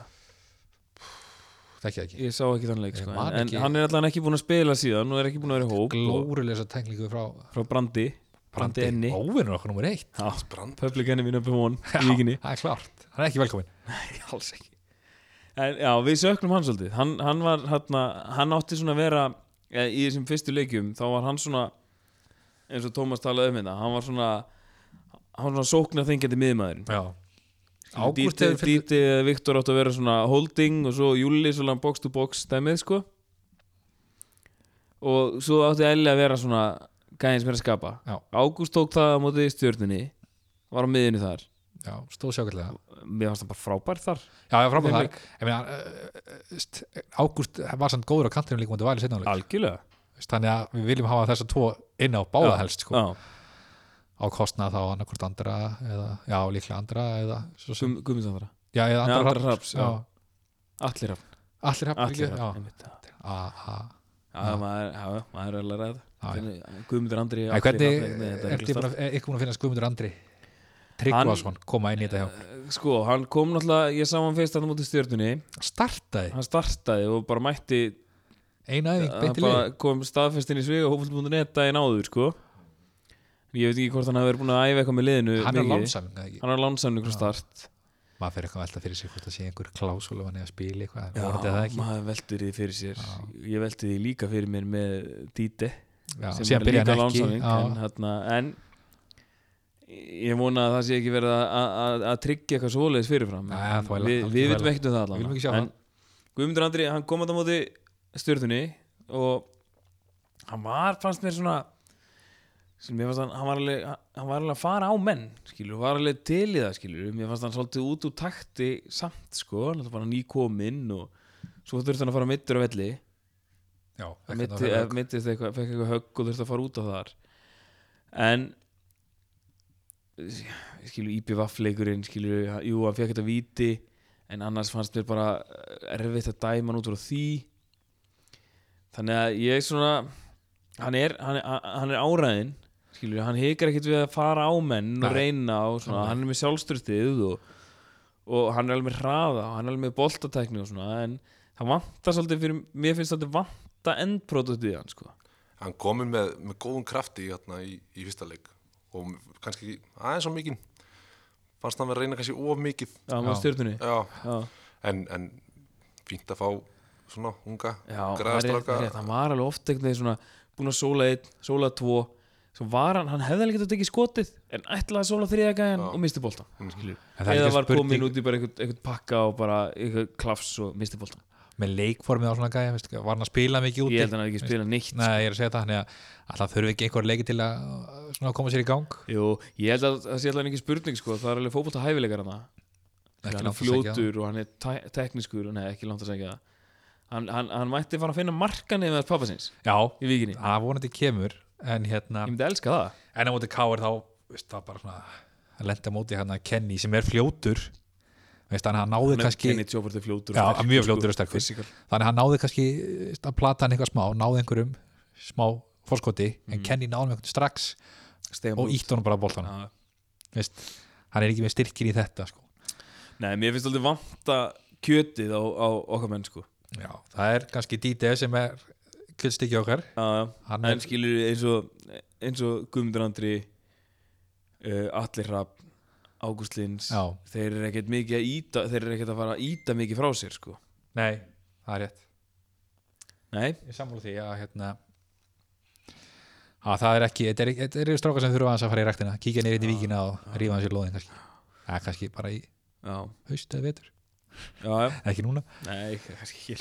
þekki það ekki ég sá ekki þann leik Ég sko. man en, en ekki. hann er allan ekki búin að spila síðan og er ekki búin að vera í hóp og, glórulega tenglingu frá frá Brandi Brandi Enni óvinnur okkur nummer eitt Já, Brand, public enemy number one í Já, vikinni það er klart, hann er ekki velkomin alls ekki en, já, við söknum hann svolítið hann, hann, var, hann, hann átti svona að vera eh, í þessum fyrstu leikjum þá var hann svona eins og Tómas talaði um þetta hann var svona hann var svona sóknar þengjandi miðmaðurinn já Ágúst Díti, hefur fyllt- Díti eða Viktor átti að vera svona holding og svo Júli svona box to box stemmið sko og svo átti Elli að vera svona gæðin sem er að skapa Já. Ágúst tók það á móti stjórninni var á miðinu þar já, stóð sjákvæðlega mér fannst það bara frábær þar Já, já, frábæð Þeim það leik. Ég meina, uh, uh, st- Ágúst var samt góður á kantinum líka mútið valið setna áleik algjörlega Þannig að við viljum hafa þessa tvo inn á báða Já, helst sko, Já. á kostnað þá annarkvort andra eða, já, líklega andra eða, svo sem, Gum, Guðmundsandra já, eða andra, Andra andra Hrafns, Um, já. já. Allir af Allir hafn Allir líka, af já einmitt, já. a, a. Já, maður já, já, maður er alveg ræð Já, já. Guðmundur Andri Æ, Allir Hvernig Hrafn, nei, þetta er ekki þið búin að, er ykkur búin að finna skumundur andri Tryggvason, koma inn í þetta hjá slæmt. Sko, hann kom náttúrulega Ég sá hann fyrst hann mútið stjörnunni Startaði, Hann startaði og bara mætti eina aðeins, Hann beinti lið bara kom staðfestin í svig og hófald.net daginn áður, sko En Ég veit ekki hvort hann hafi verið búin að æfa eitthvað með liðinu Hann er mikið. lánsæming, ekki Hann er lánsamning frá start Maður fyrir eitthvað að velta fyrir sig hvort það sé einhver klásúlu hann er að spila eitthvað, Já, voru þetta ekki maður veldur því fyrir sér Ég veldi því líka fyrir mér með Díti Já, sem síðan er byrja líka hann ekki lánsamning já. en, hérna, en ég vona að það sé ekki verið að- að að- að tryggja eitthvað svoleiðis fyrirfram Nei, En þvæla, við, algjör við þvæla. vitum ekkert um það Við viljum ekki sjá allan Guðmundur Andri, hann kom að það móti stjörðunni og hann var, fannst mér svona sem mér fannst hann, hann var alveg hann var alveg að fara á menn, skilur var alveg til í það, skilur, mér fannst hann svolítið út úr takti samt, sko hann var nýkominn og svo þurfti hann að fara mittur á velli Já, Það ekkert að mitti- vera- eh, mittist eitthvað, fekk eitthvað högg og þurfti að fara út á þar en skilur íbjöfafleikurinn skilur, jú, hann fekk þetta víti en annars fannst mér bara eh, erfitt að dæma hann út úr því þannig að ég svona hann er, hann, er- hann er áræðin skilur, hann hikar ekkert við að fara á menn og Nei. reyna og svona, Nei. hann er með sjálfstyrtið og, og hann er alveg með hraða og hann er alveg með boltatækni og svona en það vantar svolítið fyrir, mér finnst svolítið vanta endproduktið hann sko hann komi með, með góðum krafti hérna, í, í fyrsta leik og kannski ekki aðeins á mikinn fannst hann vera að reyna kannski of mikið Já, hann var Já. stjórnunni já, Já, en, en fínt að fá svona unga já það er rétt, græðastráka það er rétt, hann var alveg oft einhvern veginn svona búin að sóla einn, sóla tvo svo var hann, hann hefði alveg getað tekið skotið en ætlaði að sóla þriða gæðan Já. og misti boltan En það er eða líka var komin spurning út í bara einhvern, einhvern pakka og bara einhvern klafs og misti boltan með leikformið á svona gæja, veist, var hann að spila mikið úti ég held að hann hafði ekki spilað neitt Nei, ég er að segja það, þannig að alltaf þurfi ekki einhver leiki til að uh, svona, koma sér í gang Jú, ég held að það sé allavega ekki spurning sko, það er alveg fótbolta hæfileikar hann Ekki hann er langt að segja það. fljótur og hann er tæ- teknískur og nei, ekki langt að segja það hann, hann, hann mætti fara að finna markan eða pappasins Já, í vikinni, ég það vonandi kemur en hérna, myndi elska það en á móti Káir þá veist, það bara svona, að lenda móti hann að Kenny sem er fljótur veist, þannig að hann náði Hann er- kannski Kenny Tjófart er fljótur Já, og sterkur, mjög fljótur og sterkur. physical. þannig að hann náði kannski veist, að plata hann eitthvað smá, náði einhverjum smá fórskoti, en Kenny náði einhvern strax Stefán og Brot. ítt honum bara að boltan Já. veist, hann er ekki með styrkin í þetta sko. Nei, mér finnst alltaf vanta kjötið á, á okkar menn sko Já, það er kannski Dide sem er kvöldstykki okkar já, Hann já er- en skilur eins og eins og Guðmundur Andri uh, Allir Hrafn Ágúst Lins Já. þeir eru ekkert mikið að íta þeir eru ekkert að fara að íta mikið frá sér sko Nei, það er rétt nei, Ég sammála því að hérna að það er ekki, þetta eru er, þetta eru strákar sem þurfa aðeins að fara í ræktina, kíkja niður inn í víkina og rífa hans í lóðin kannski Það er kannski bara í já, haust eða vetur, já, já ekki núna nei, kannski ekki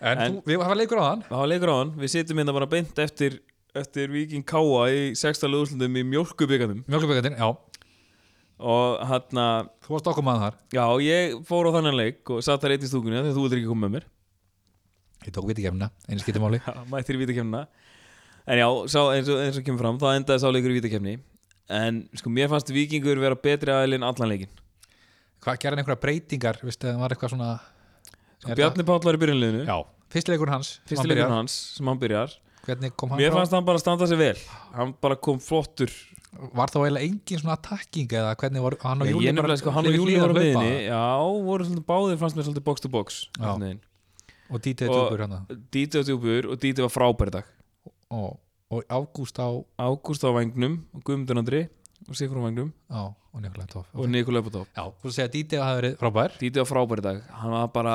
En, En- þú, við hafa leikur á þann það var leikur á hann, við sitjum hérna bara beint eftir eftir Viking Káa í sexta lögslundum í mjólkubyggjandum Mjölkubökkandinn, já, og hérna hann þú varst okkur maður þar já, ég fór á þannan leik og satt þar eitt í stúkunni af því að þú vildir ekki koma með mér Ég tók vitikefnina, einu skipti máli Já, mættir í vítakefnina en já, sá, eins, og, eins og kemur fram þá endaði sá leikur í vítakefni en sko mér fannst vikingur vera betri aðeil en allan leikin Hvað gerði hann einhverja breytingar, veistu, það var eitthvað svona sko, Er Bjarni Páll var í byrjunliðinu Já, fyrsti leikur hans, sem fyrsti hann byrjar. leikur hans sem hann byrjar hvernig kom hann mér frá? fannst hann bara standa sig vel hann bara kom flottur Var þá eiginlega engin svona attacking eða hvernig var hann og Ég- Júli ég nefnilega sko hann og fyrir Júli hliðar voru að hlaupa? meðinni já, voru svolítið báðir fannst mér svolítið box to box Já. og DJ Og- Djúbur hann Díti á djúbur og Díti var frábær í dag hérna. og, og Ágúst á, Ágúst á vangnum og Guðmundur Andri og Sigur á vangnum á og Nikolaj Tóf og Nikolai Bótó Já, þú segir að DJ hafi verið frábær Díti var frábær í dag hann var bara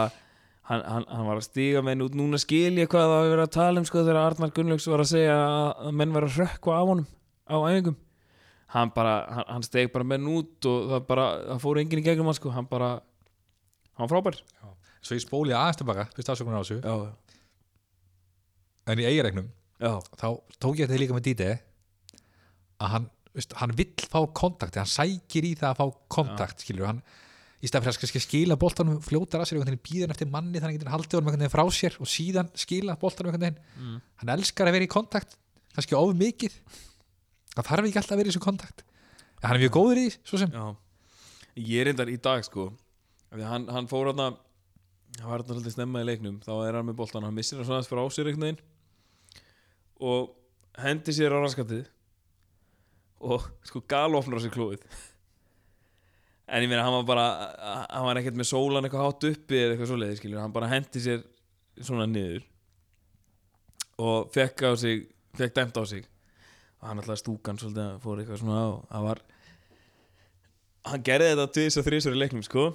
hann, hann, hann var að stíga menn út núna skil ég hvað það var verið að tala um sko þegar Arnar Gunnlaugs var að segja að að menn var að hrökkva af honum á æfingum hann bara, hann, hann steg bara menn út og það bara, það fór enginn í gegnum hann sko hann bara, hann var frábær Svo ég spóli aðeins tilbaka, fyrst afsökunar á þessu já, en í eigiregnum, já, þá tók ég þetta líka með DJ að hann, veist, hann vill fá kontakti hann sækir í það að fá kontakt skilur, hann, í stað fyrir að sk- sk- skila boltanum fljótar að sér, einhvern veginn býður hann eftir manni þannig getur hann haldið honum einhvern veginn frá sér og síðan skila boltanum einhvern veginn hann elskar að vera í kontakt, kannski of mikið það þarf ekki alltaf að vera í þessu kontakt en hann er mjög góður í því, svo sem já. ég er reyndar í dag sko af því að hann, hann fór hann hann var hann svolítið snemma í leiknum þá er hann með boltan, hann missir hann svona aðeins fyrir ásir einhvern veginn og hendi sér á raskatið og sko galofnar sér klóið en ég meina hann var bara hann var ekkert með sólan eitthvað hátt uppi eða eitthvað svoleiði skilur, hann bara hendi sér svona niður og fekk á sig fekk dæmt á sig og hann alltaf stúkan svolítið hann fór eitthvað svona á hann var hann gerði þetta tvis og þrisur í leiknum sko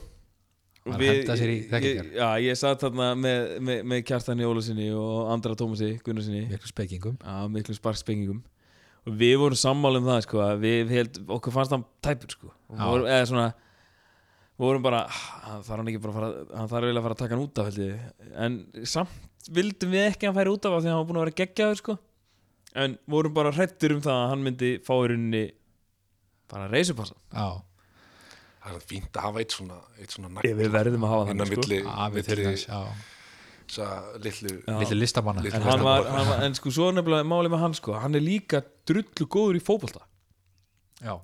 Og Hann við- henda sér í þekkingar. ég- Já, ég satt þarna með, með, með Kjartani Ólusinni og Andra Tómasi Gunnarsinni miklu spekingum á miklu sparkspengingum og við vorum sammála um það sko, að við held, okkur fannst hann tæpur sko. Og Já. vorum, eða svona við vorum bara, "Ah, hann þarf hann ekki bara að fara hann þarf eiginlega að fara að taka hann út af held ég. en samt vildum við ekki að hann færi út af af því að hann var búin að vera geggjaður sko. en vorum bara hrættur um það að hann myndi fá í rauninni bara reisupassa á, það er fínt að hafa eitt svona, eitt svona nagl við verðum að hafa innan þannig sko. milli, afið til milli þess á, þessa litlu litlu listamanna Litlu en, hann var, hann var, en sko svo er nefnilega málið með hann sko, hann er líka drullu góður í fótbolta já,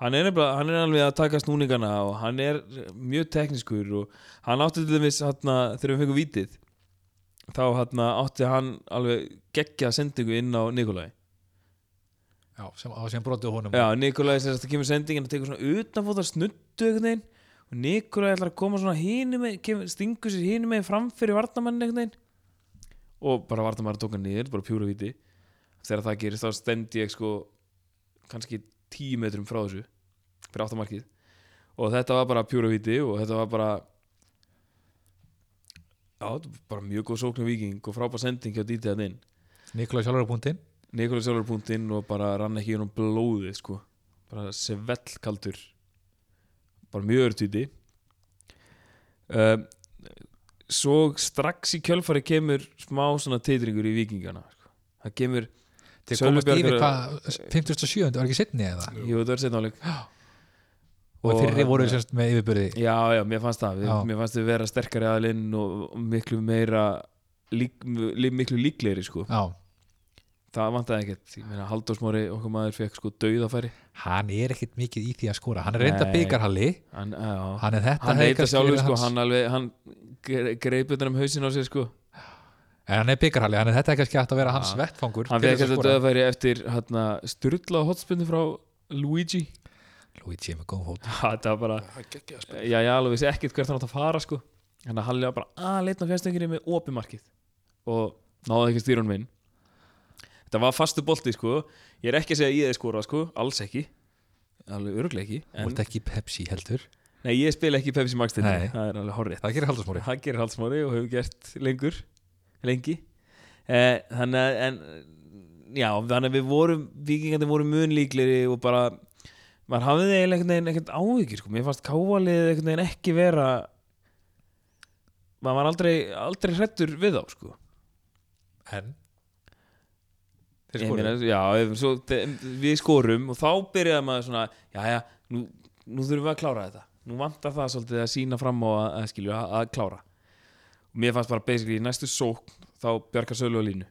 hann er, nefnilega, hann er alveg að taka snúningana og hann er mjög teknískur og hann átti til dæmis hana, þegar við fengum vítið þá hana, átti hann alveg geggja sendingu inn á Nikolai já, sem, á- sem brotið honum Já, Nikolai sem þetta kemur sendingin og tekur svona utanfóta snuttu einhvern veginn og Nikolai ætlar að koma svona hínum kemur, stingur sér hínum meginn fram fyrir vartamann einhvern veginn og bara vartamann tók hann niður, bara pjúra viti þegar það gerist þá stend ég sko kannski tíu metrum frá þessu fyrir áttamarkið og þetta var bara pjúra viti og þetta var bara já, þetta var bara mjög góð sóknu viking og frábær sending hjá dítið hann inn Nikolaj sjálfur á punktinn Nikolaj Sjálfur punkt inn og bara rann ekki um blóði sko bara sevellkaldur bara mjög örtýti um, svo strax í kjölfari kemur smá svona titringur í vikingana sko. það kemur Þeir Sölvi komast yfir Bjarkar- hvað, 57. var ekki setni eða? jú, þetta var setna áleik Og Og, hérna- þeirri hann- voru semst með yfirbyrði já, já, mér fannst það við, Já. mér fannst þau vera sterkari aðlinn og og miklu meira lík, li, miklu líklegri sko Já, það vantaði ekkert, ég meina Halldórsmóri okkar maður fekk sko dauðafæri hann er ekkit mikið í því að skora Hann er reynda Nei. byggarhalli hann, já, Hann er þetta hann hefði heita kannski sjálfur verið sko, hans- hann alveg hann greip utan um hausin á sér sko En Eh, hann er byggarhalli, hann er þetta kannski hægt að vera hans Já. vettfangur hann til fekk þess þetta döðafæri eftir hérna, styrla hotspunni frá Luigi Luigi er með góðum fót Ha, þetta var bara, það er geggjað að spila. já já, alveg vissi ekkert hvert hann átt að fara sko Þannig að Halli var bara að leitna fjastönginu með opimarkið og náði ekki stýrunum inn Þetta var fastu bolti sko Ég er ekki að segja að ég er skora sko, alls ekki Alveg örglega ekki Þú ert ekki Pepsi heldur Nei, ég spila ekki í Pepsi Max þetta Nei. Það er alveg horrið Það gerir Halldórsmóri Það gerir halsmári og hefur gert lengur Lengi eh, Þannig að en, Já, þannig að við vorum Víkingandi vorum mun líkleri og bara Maður hafði eiginlega einhvern veginn ekkert áhyggjur sko. Mér fannst kávalið einhvern veginn ekki vera Maður var aldrei Aldrei hrettur við þá sko. En Þeir Ég skoruðu. meina, Já, ef- svo, te, við skorum Og þá byrjaði maður svona Jæja, nú, nú þurfum við að klára þetta Nú vantar það svolítið að sína fram og að, að skilju að, að klára Og mér fannst bara basically í næstu sókn Þá bjargar sölu á línu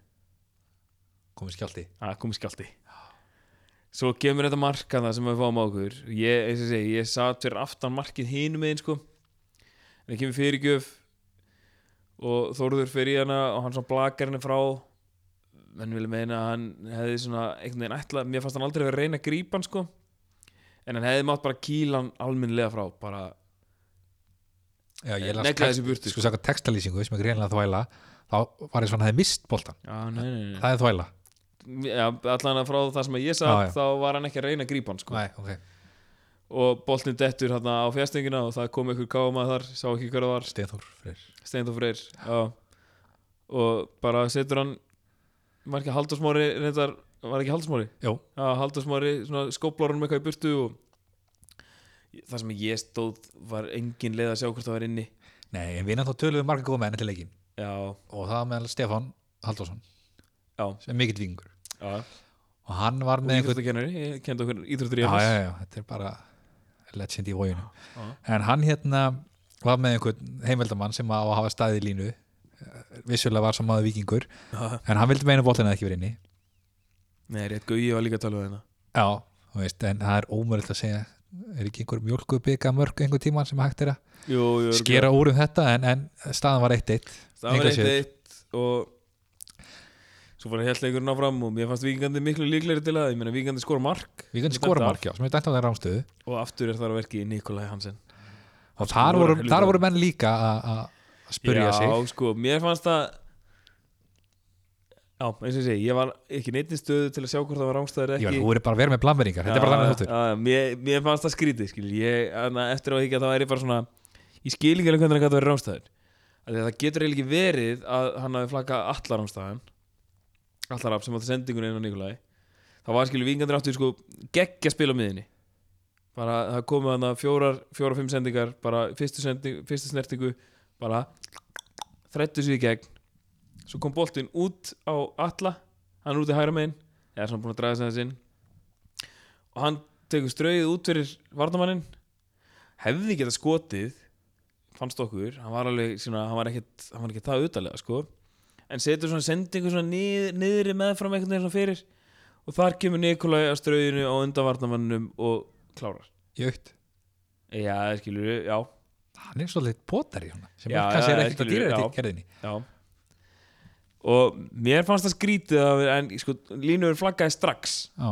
komið skjálti að komið skjálti svo kemur þetta marka það sem við fáum á okkur ég, eins og ég segi, ég satt fyrir aftan markið hinum einn sko en það kemur fyrirgjöf og Þórður fyrir hana og hann svona blakar henni frá menn vilja meina að hann hefði svona einhvern veginn ætla, mér fannst hann aldrei verið að reyna að grípa hann sko en hann hefði mátt bara kýla hann almennlega frá bara, Já, ég las negla text- þessu burtu, Sko saka textalýsingu sem er greinlega þvæla Þá var ég svona að hefði mist boltan já, nei, nei, nei. Það er þvæla Já, allan að frá það sem ég satt Já, já. þá var hann ekki að reyna að grípa hann sko Nei, ok og boltin dettur hérna á fjastöngina og það kom einhver káma þar, sá ekki hver það var Steinþór Freyr Steindur Freyr já. og bara setur hann var ekki Haldursmári reyndar, var ekki Haldursmári Jó, já, Haldursmári skóplar hann með eitthvað í burtu og það sem ég stóð var engin leið að sjá hvort það var inni nei, en við náttúrulega töluðum marga góða menn til leikin já, og það var meðal Stefán Halldórsson já, sem er mikill vingur já og hann var og með einhvern íþróttakennari, ég kendi okkur íþróttur í já, já, FS. já, þetta er bara legend í vóginu Já. en hann hérna var með einhvern heimveldamann sem á að hafa staðið í línu Eh, vissulega var sem maður vikingur Já. en hann vildi meina bóllina ekki verið inni nei, rétt gauði var líka að tala um þetta já, þú veist, en það er ómörilegt að segja er ekki einhver mjólku byggja mörg einhver tíman sem hægt er að jú, jú, örugglega. skera úr um þetta en, en staðan var 1-1 það var Engu að eitt síður. eitt og svo bara held leikurinn áfram og mér fannst vikingandi miklu líklegri til að ég meina vikingandi skora mark við kannum Þetta skora af. markja sem er dæmt á þeirra rámstöðu og aftur er þar að verki Nikolai Hansen og voru þar voru, helvítið þar góð. voru menn líka að- að að spurja já, sig sko, mér fannst það já, eins og ég segi ég var ekki neittni stöðu til að sjá hvort það var rámstæður Ég ekki var, þú verður bara að vera með blamveringar, þetta er bara Já, þannig þáttur já, já, mér, mér fannst það skrítið skil. ég, anna, eftir á ekki að það væri bara svona ég skil ekki alveg hvernig það verið rámstæður það getur eiginlega ekki verið að hann hafi flaggað allar rámstæðan allar af sem átti sendingun inn á Nikolai það var skilur vingandir áttu sko geggja spil á miðinni bara það komu hann að fjórar, fjórar, fimm sendingar bara fyrstu, sending, fyrstu snertingu bara þrættu sig í gegn svo kom boltinn út á alla hann er út í hægra megin eða svona búin að draga sig aðeins inn og hann tekur strauðið út fyrir varnamanninn hefði geta skotið fannst okkur, hann var alveg svona, hann var ekkert, hann var ekkert það utalega sko en setur svona sendingu svona nið, niðri meðfram einhvern veginn svona fyrir og þar kemur Nikolai að strauðinu á undan varnamannum og klárar Jögt, já, skilur við, já, hann er svolítið potari svona, Já, sem já, já, kannski er ekkert að skilur, dýra já. þetta í gerðinni Já Og mér fannst það skrítið að, En sko, línur flaggaði strax Já.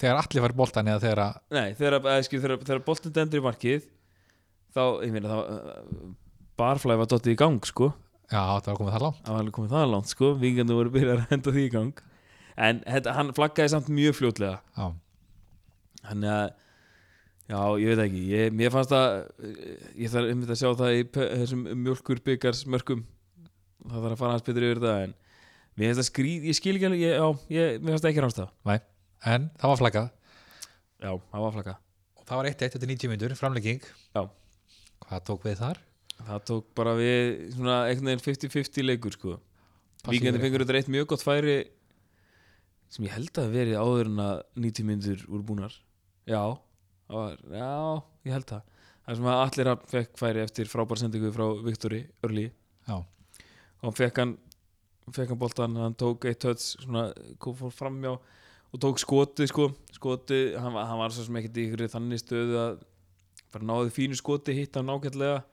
Þegar allir var boltan eða þegar að Nei, þegar, að, skil, þegar, þegar boltin dendur í markið Þá, ég meina þá Barflæði var dottið í gang, sko Já, það var komið það langt Það var alveg komið það langt, sko Vingandi voru byrjað að henda því í gang En þetta, hann flaggaði samt mjög fljótlega Já, Þannig að Já, ég veit ekki, ég, mér fannst það eh, ég þarf einmitt að sjá það í pe- þessum mjölkur byggars mörkum það þarf að fara hans betur yfir það en mér finnst það skrýð, ég skil ekki alveg ég, já, ég, mér finnst það ekki ránstað Nei. en það var flaggað Já, það var flakka og það var 1-1 eftir 90 myndur, framlegging Já. Hvað tók við þar? Það tók bara við svona einhvern veginn 50-50 leikur sko Víkandi Passífur- fengur þetta eitt mjög gott færi sem ég held að hafi verið áður en að 90 myndur úr búnar Já, það var, já, ég held það Það sem að allir að fekk færi eftir frábær sendingu frá Viktori Örli Já, og hann fekk hann fekk hann boltan, hann tók eitt töts svona, kom fór framjá og tók skotið sko, skotið hann, var- hann var svo sem ekkert í ykkur þannig stöðu að bara náði fínu skoti hitt hann ágætlega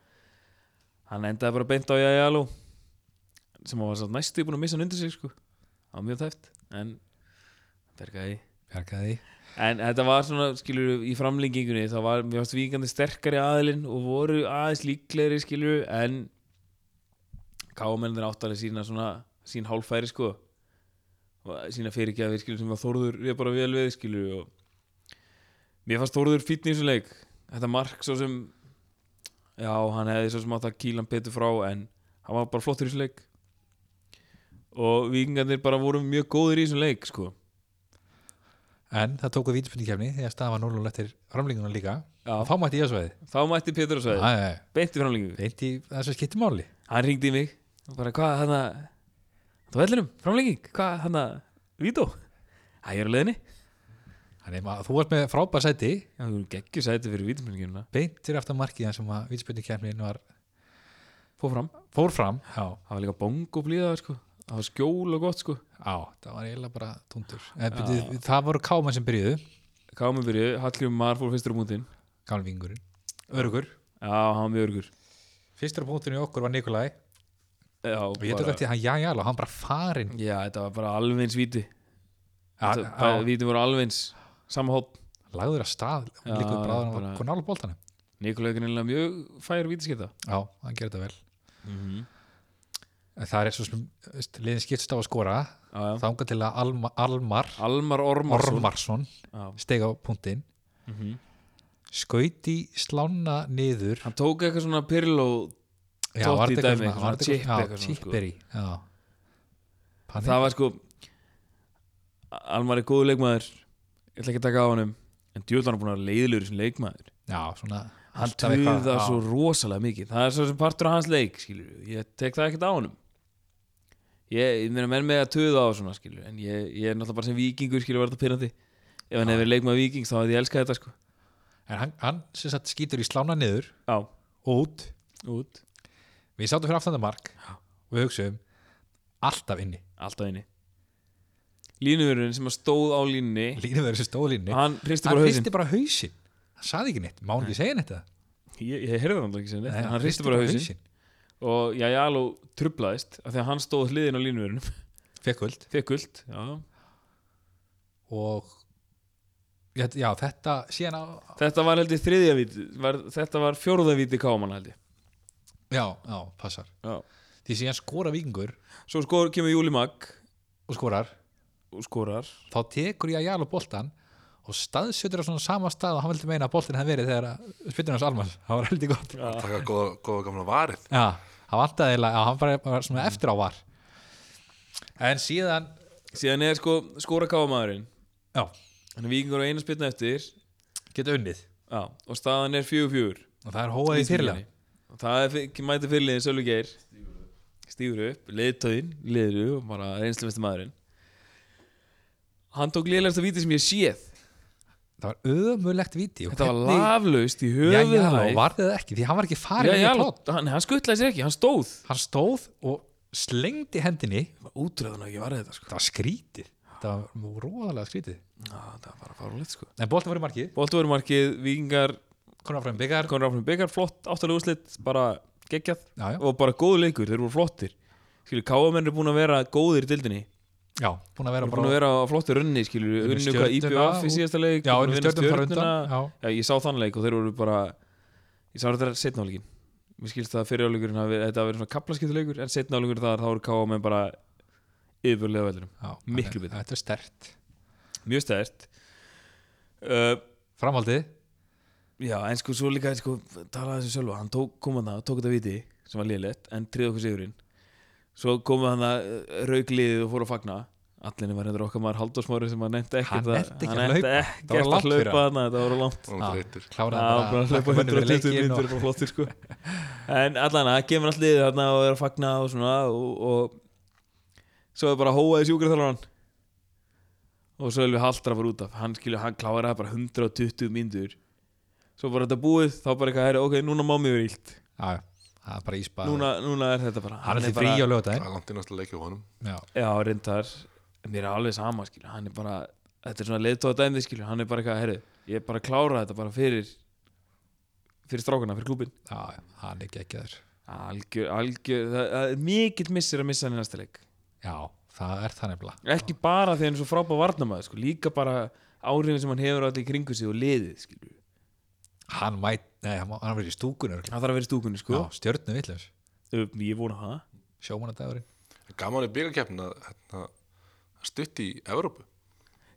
hann endaði bara beint á Jæjalú sem hann var satt næstu búin að missa hann undir sig sko það var mjög tæft en bergaði bjargaði því En þetta var svona, skilur, í framlengingunni þá var, mér varst víkandi sterkari aðilinn og voru aðeins líklegri, skilur en káamennir áttalega sína svona sín hálfæri, sko Og sína fyrirgjafir, skilur, sem var Þórður við bara vel við, skilur og mér fannst Þórður fínn í þessum leik þetta mark svo sem já, hann hefði svo sem átt að kýla hann betur frá en hann var bara flottur í þessum leik og vikingarnir bara voru mjög góðir í þessum leik, sko En það tóku vítspenningkefni því að staðan var 0 eftir framlinguna líka Já. og þá mætti ég að svæði þá mætti Pétur að sveið, Æ, beinti framlengingu Reyndi þessu skipti máli hann ringdi í mig og bara hvað hann að þú vellinum, framlenging, hvað hann að vító, að ég er á leiðinni Þannig að þú varst með frábær sæti já, þú geggjur sæti fyrir vítumenningina beint fyrir aftan markið þar sem að vítspenningkefnin var fór fram, fór fram Já, það var líka bong og blíða sko. það var skjól og gott sko á, það var eiginlega bara tundur en, byrju, Það voru káma sem byrjuðu Kámi byrju, Hallgrim Mar fór fyrstur á mútin Gamli vingurinn Örugur já, hann var mjög örgur Fyrstur á punktinu í okkur var Nikolai já, og ég tók bara, eftir hann jæjala og hann bara farinn já, þetta var bara alveg eins víti Hann- Þetta- hann víti voru alveg eins, sama hóp lagður að stað Já, líka upp bráðan bara- og kon nála bóltanum Nikolai er greinilega mjög fær vítiskipta Já, hann gerir þetta vel mm Mhm. -hmm. en það er svo sem veist, liðin skiptist á að skora já, já. þanga til að Alma, Almar Almar Ormarsson Ormarsson Mhm. Já. steg á punktinn skaut í slána niður hann tók eitthvað svona Pirlo Já, Totti var þetta eitthvað dæmi, svona- eitthvað var þetta svona chip eitthvað svona, eitthvað svona- já, sko. chipper í já. Panik. það var sko Almar er góðu leikmaður ég ætla ekki að taka á honum en djúðlan er búin að vera leiðilegur sem leikmaður já, svona hann alltaf töða eitthvað- já. svo rosalega mikið það er svo sem partur af hans leik skilur. ég tek það ekkert á honum ég, ég meina menn með að töða á svona skilur. en ég, ég er náttúrulega bara sem vikingur skilur var þetta pyrrandi ef hann hefur leikmaður vikings þá hefði ég elskað þetta sko. en hann, hann sem sagt skýtur í slána niður já, og út út, við sátum fyrir aftan það mark og við hugsaum alltaf inni alltaf inni línurinn sem að stóð á línni línum verður sem stóð línni hann hristi hann bara hausinn hristi bara hausinn hann saði ekki neitt, má hann ekki segja neitt það ég, ég heyrði hann ekki sem neitt, hann hristi bara hausinn og Jajalo trublaðist af því að hann stóð hliðin á línuverunum fekk völd fekk guld já. og já, já, þetta síðan á þetta var heldur þriðja víti var, þetta var fjórða víti káman heldur já, já, passar já. því síðan skora vikingur svo skor, kemur Júli Mag og skorar og skorar þá tekur ég að jala boltan og staðsjötur á svona sama stað og hann vildi meina að boltin hefði verið þegar að spytun hans almans það var heldig gott já, taka góða, góða gamla varið hann vantaði eiginlega já, hann bara, bara svona eftir á var en síðan síðan er sko, skora kámaðurinn já, hann er vikingur og eina spilna eftir geta unnið já. og staðan er fjögur fjögur og það er hóað í fyrirlega og það er fyr- mæta fyrirliðin Sölvi Geir stífur upp, leiðtöðin leiður og bara reynslumestir maðurinn hann tók liðlegasta víti sem ég hef séð það var ömulegt víti og þetta var hvernig- laflaust í Já, höfuð já, og var það ekki, því hann var ekki farin já, já, í plott hann, hann skuttlaði sér ekki, hann stóð hann stóð og slengdi hendinni útröðun ekki varði þetta sko það var skrítið það var róðalega skrítið Ná, það var bara farulegt sko en boltin voru markið, Bóttúrumarkið, vikingar, konar fram byggar konur áfram í byggar flott, áttalega úrslit, bara geggjað já, já, og bara góð leikur, þeir voru flottir skilur, káamenn er búin að vera góðir í dildinni þeir já, búin að vera eru búin að bara vera á flottir runni, skilur Unnu unnu hvað Stjörnuna IPF í og- síðasta leik já, búin að unnu vinna Stjörnuna þar Stjörnuna. undan, já. já, ég sá þann leik og þeir voru bara ég sá þetta setna áleikin mér skilst það að fyrirjáleikurinn hafi þetta hafi verið svona kaplaskiptuleikur en setna áleikurinn þar þá voru káamenn bara yfirlega veldurum já, miklu þannig að betur. þetta er stert mjög stært uh, framhaldið, já, en sko svo líka en sko, talaði þessu sjálfa, hann tók, kom hann það tók þetta viti sem var liðlegt, en tríð okkur sigurinn svo kom hann það raugliðið og fór að fagna allinni var hendur okkar maður Halldórsmári sem hann nefndi ekkert Hann að- nefndi ekki hann að nefndi hlaupa. ekkert Það var langt að fyrir hlaupa hann þetta voru langt og hann breytir Já, kláraði bara að hlaupa taka mönnum við 120 leikinn myndir og- bara flottir sko en allan að kemur allt liðið þarna og er að fagna og svona og, og svo er bara hóaði sjúkraþjálfaran og svo er við haldra bara út af hann skilur, hann klára það bara 120 myndir svo bara þetta búið þá bara eitthvað, herri, ok, núna má mér vera illt já, já, það er bara ísbað núna, núna er þetta bara hann er til frí bara, á lögudaginn það er langt í næsta leikja honum já, já, reyndar, mér er alveg sama skilur, hann er bara, þetta er svona leiðtóða dæmið skilur, hann er bara eitthvað, herri, ég er bara að klára þetta bara fyrir fyrir strákana, fyrir klúbin já, já, hann er geggjaður Algjör, algjör, það, það er mikill missir að missa hann í næsta leik já, það er það nefnilega Ekki bara því hann er svo frábæð varnamaður, sko, líka bara áhrifin sem hann hefur allir í kringu sig og liðið skilur. hann mæt, nei, hann, má- hann verið í stúkun örugglega. hann þarf að vera í stúkunni sko. já, stjörnu villur, Ö, Um, ég vona það sjómanadagurinn Gaman er byggakeppnin að hérna, stutt í Evrópu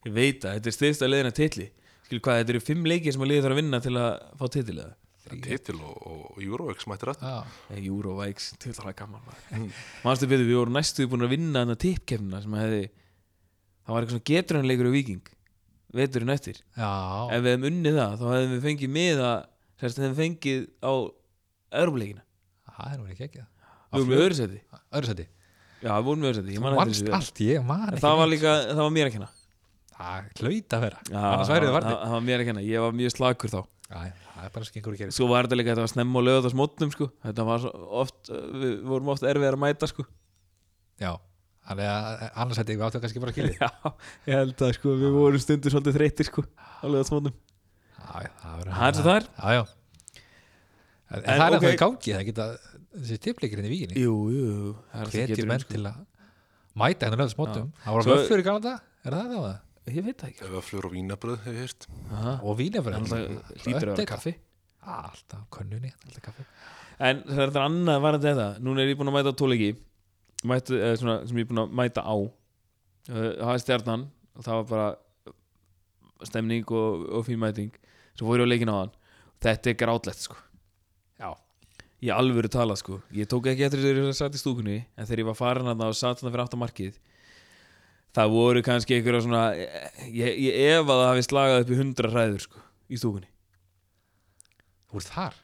ég veit að þetta er stiðsta leiðina titli skilur hvað, þetta eru fimm leikir sem að liðið þarf að vinna til að fá titliða Titil og, og Eurovex mættir að já, Eurovikes, til það Eh, er gaman mannstu betur, við vorum næstu búin að vinna þannig að tippkefnina sem hefði það var eitthvað svona getrunleikur og viking veturinn eftir, já, ef við hefum unnið það þá hefðum við fengið miða sérst hefðum fengið á Euroleikina það er nú ekki ekki við vorum við öðursæti, öðru sæti, já við vorum við öðursæti ég man eftir mannst þessu vel. allt, ég man En ekki það var neitt. líka, það var mér að kenna það hlaut að vera, Já, annars værið þið það, varði það var mér að kenna, ég var mjög slakur þá Æ, það er bara skengur að gera svo var þetta líka, þetta var snemma og lögða smótnum sko. þetta var svo oft, við vorum oft erfið að mæta sko. já, þannig að annars hætti við áttu kannski bara að skilja já, ég held að sko, við vorum stundur svolítið þreytir sko, á lögða smótnum já, já, það verður Það er svo það er. já, já en, En, en það er okay. ok. í gangi, það geta þessi tippleikirinn í víkinni jú, jú, það er það hvetjir getur sko? menn til að mæta hennar lögð smótum það voru Svo- vöfflur í gamla dag er það það það? ég veit það ekki Ef að flur og vínabröð hefur hýrt Aha. og vínafröð en það hlýtur að vera kaffi Ah, alltaf könnunni, alltaf kaffi en það er þetta annað varandi þetta núna er ég búin að mæta á tólegi mæta, eh, svona, sem ég er búin að mæta á Eh, það er stjarnan og það var bara stemning og, og fín mæting svo fór ég á leikin á hann þetta er grátlegt sko já, Ég alvöru tala sko Ég tók ekki eftir þegar ég satt í stúkunni En þegar ég var farin að það og satt þarna fyrir áttamarkið Það voru kannski einhverja svona Ég, ég ef að það hafi slagað upp í hundra hræður sko Í stúkunni þú ert þar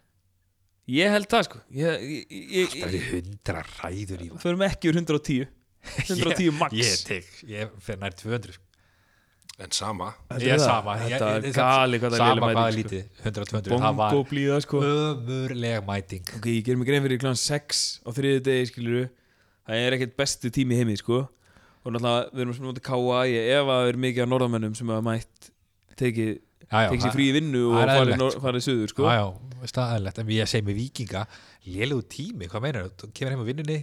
Ég held það sko Ég, ég, ég, það ég, er hundra ræður í ég Förum ekki úr 110 110 max ég tek, ég fyrir nær 200 sko. En sama, Þetta ég er er það. sama ég- Þetta ég- er ég- gali hvað það er sama léleg sko. hvað er mæting, lítið, 100-200 það var Bongo blíða sko ömurleg mæting Ok, ég ger mig grein fyrir kláðan 6 á þriði degi skiluru Það er ekkert bestu tími í heimi sko Og náttúrulega við erum sem móti káa Ég ef að það er mikið af norðamönnum sem hafa mætt tekið já, já, tekið sér það- frí í vinnu og það er farið, eðlilegt, nor- farið suður sko. Já, já, staðanlegt, en ég segi með vikinga lélugu tími, hvað meinar þú? Kemur heim á vinnunni,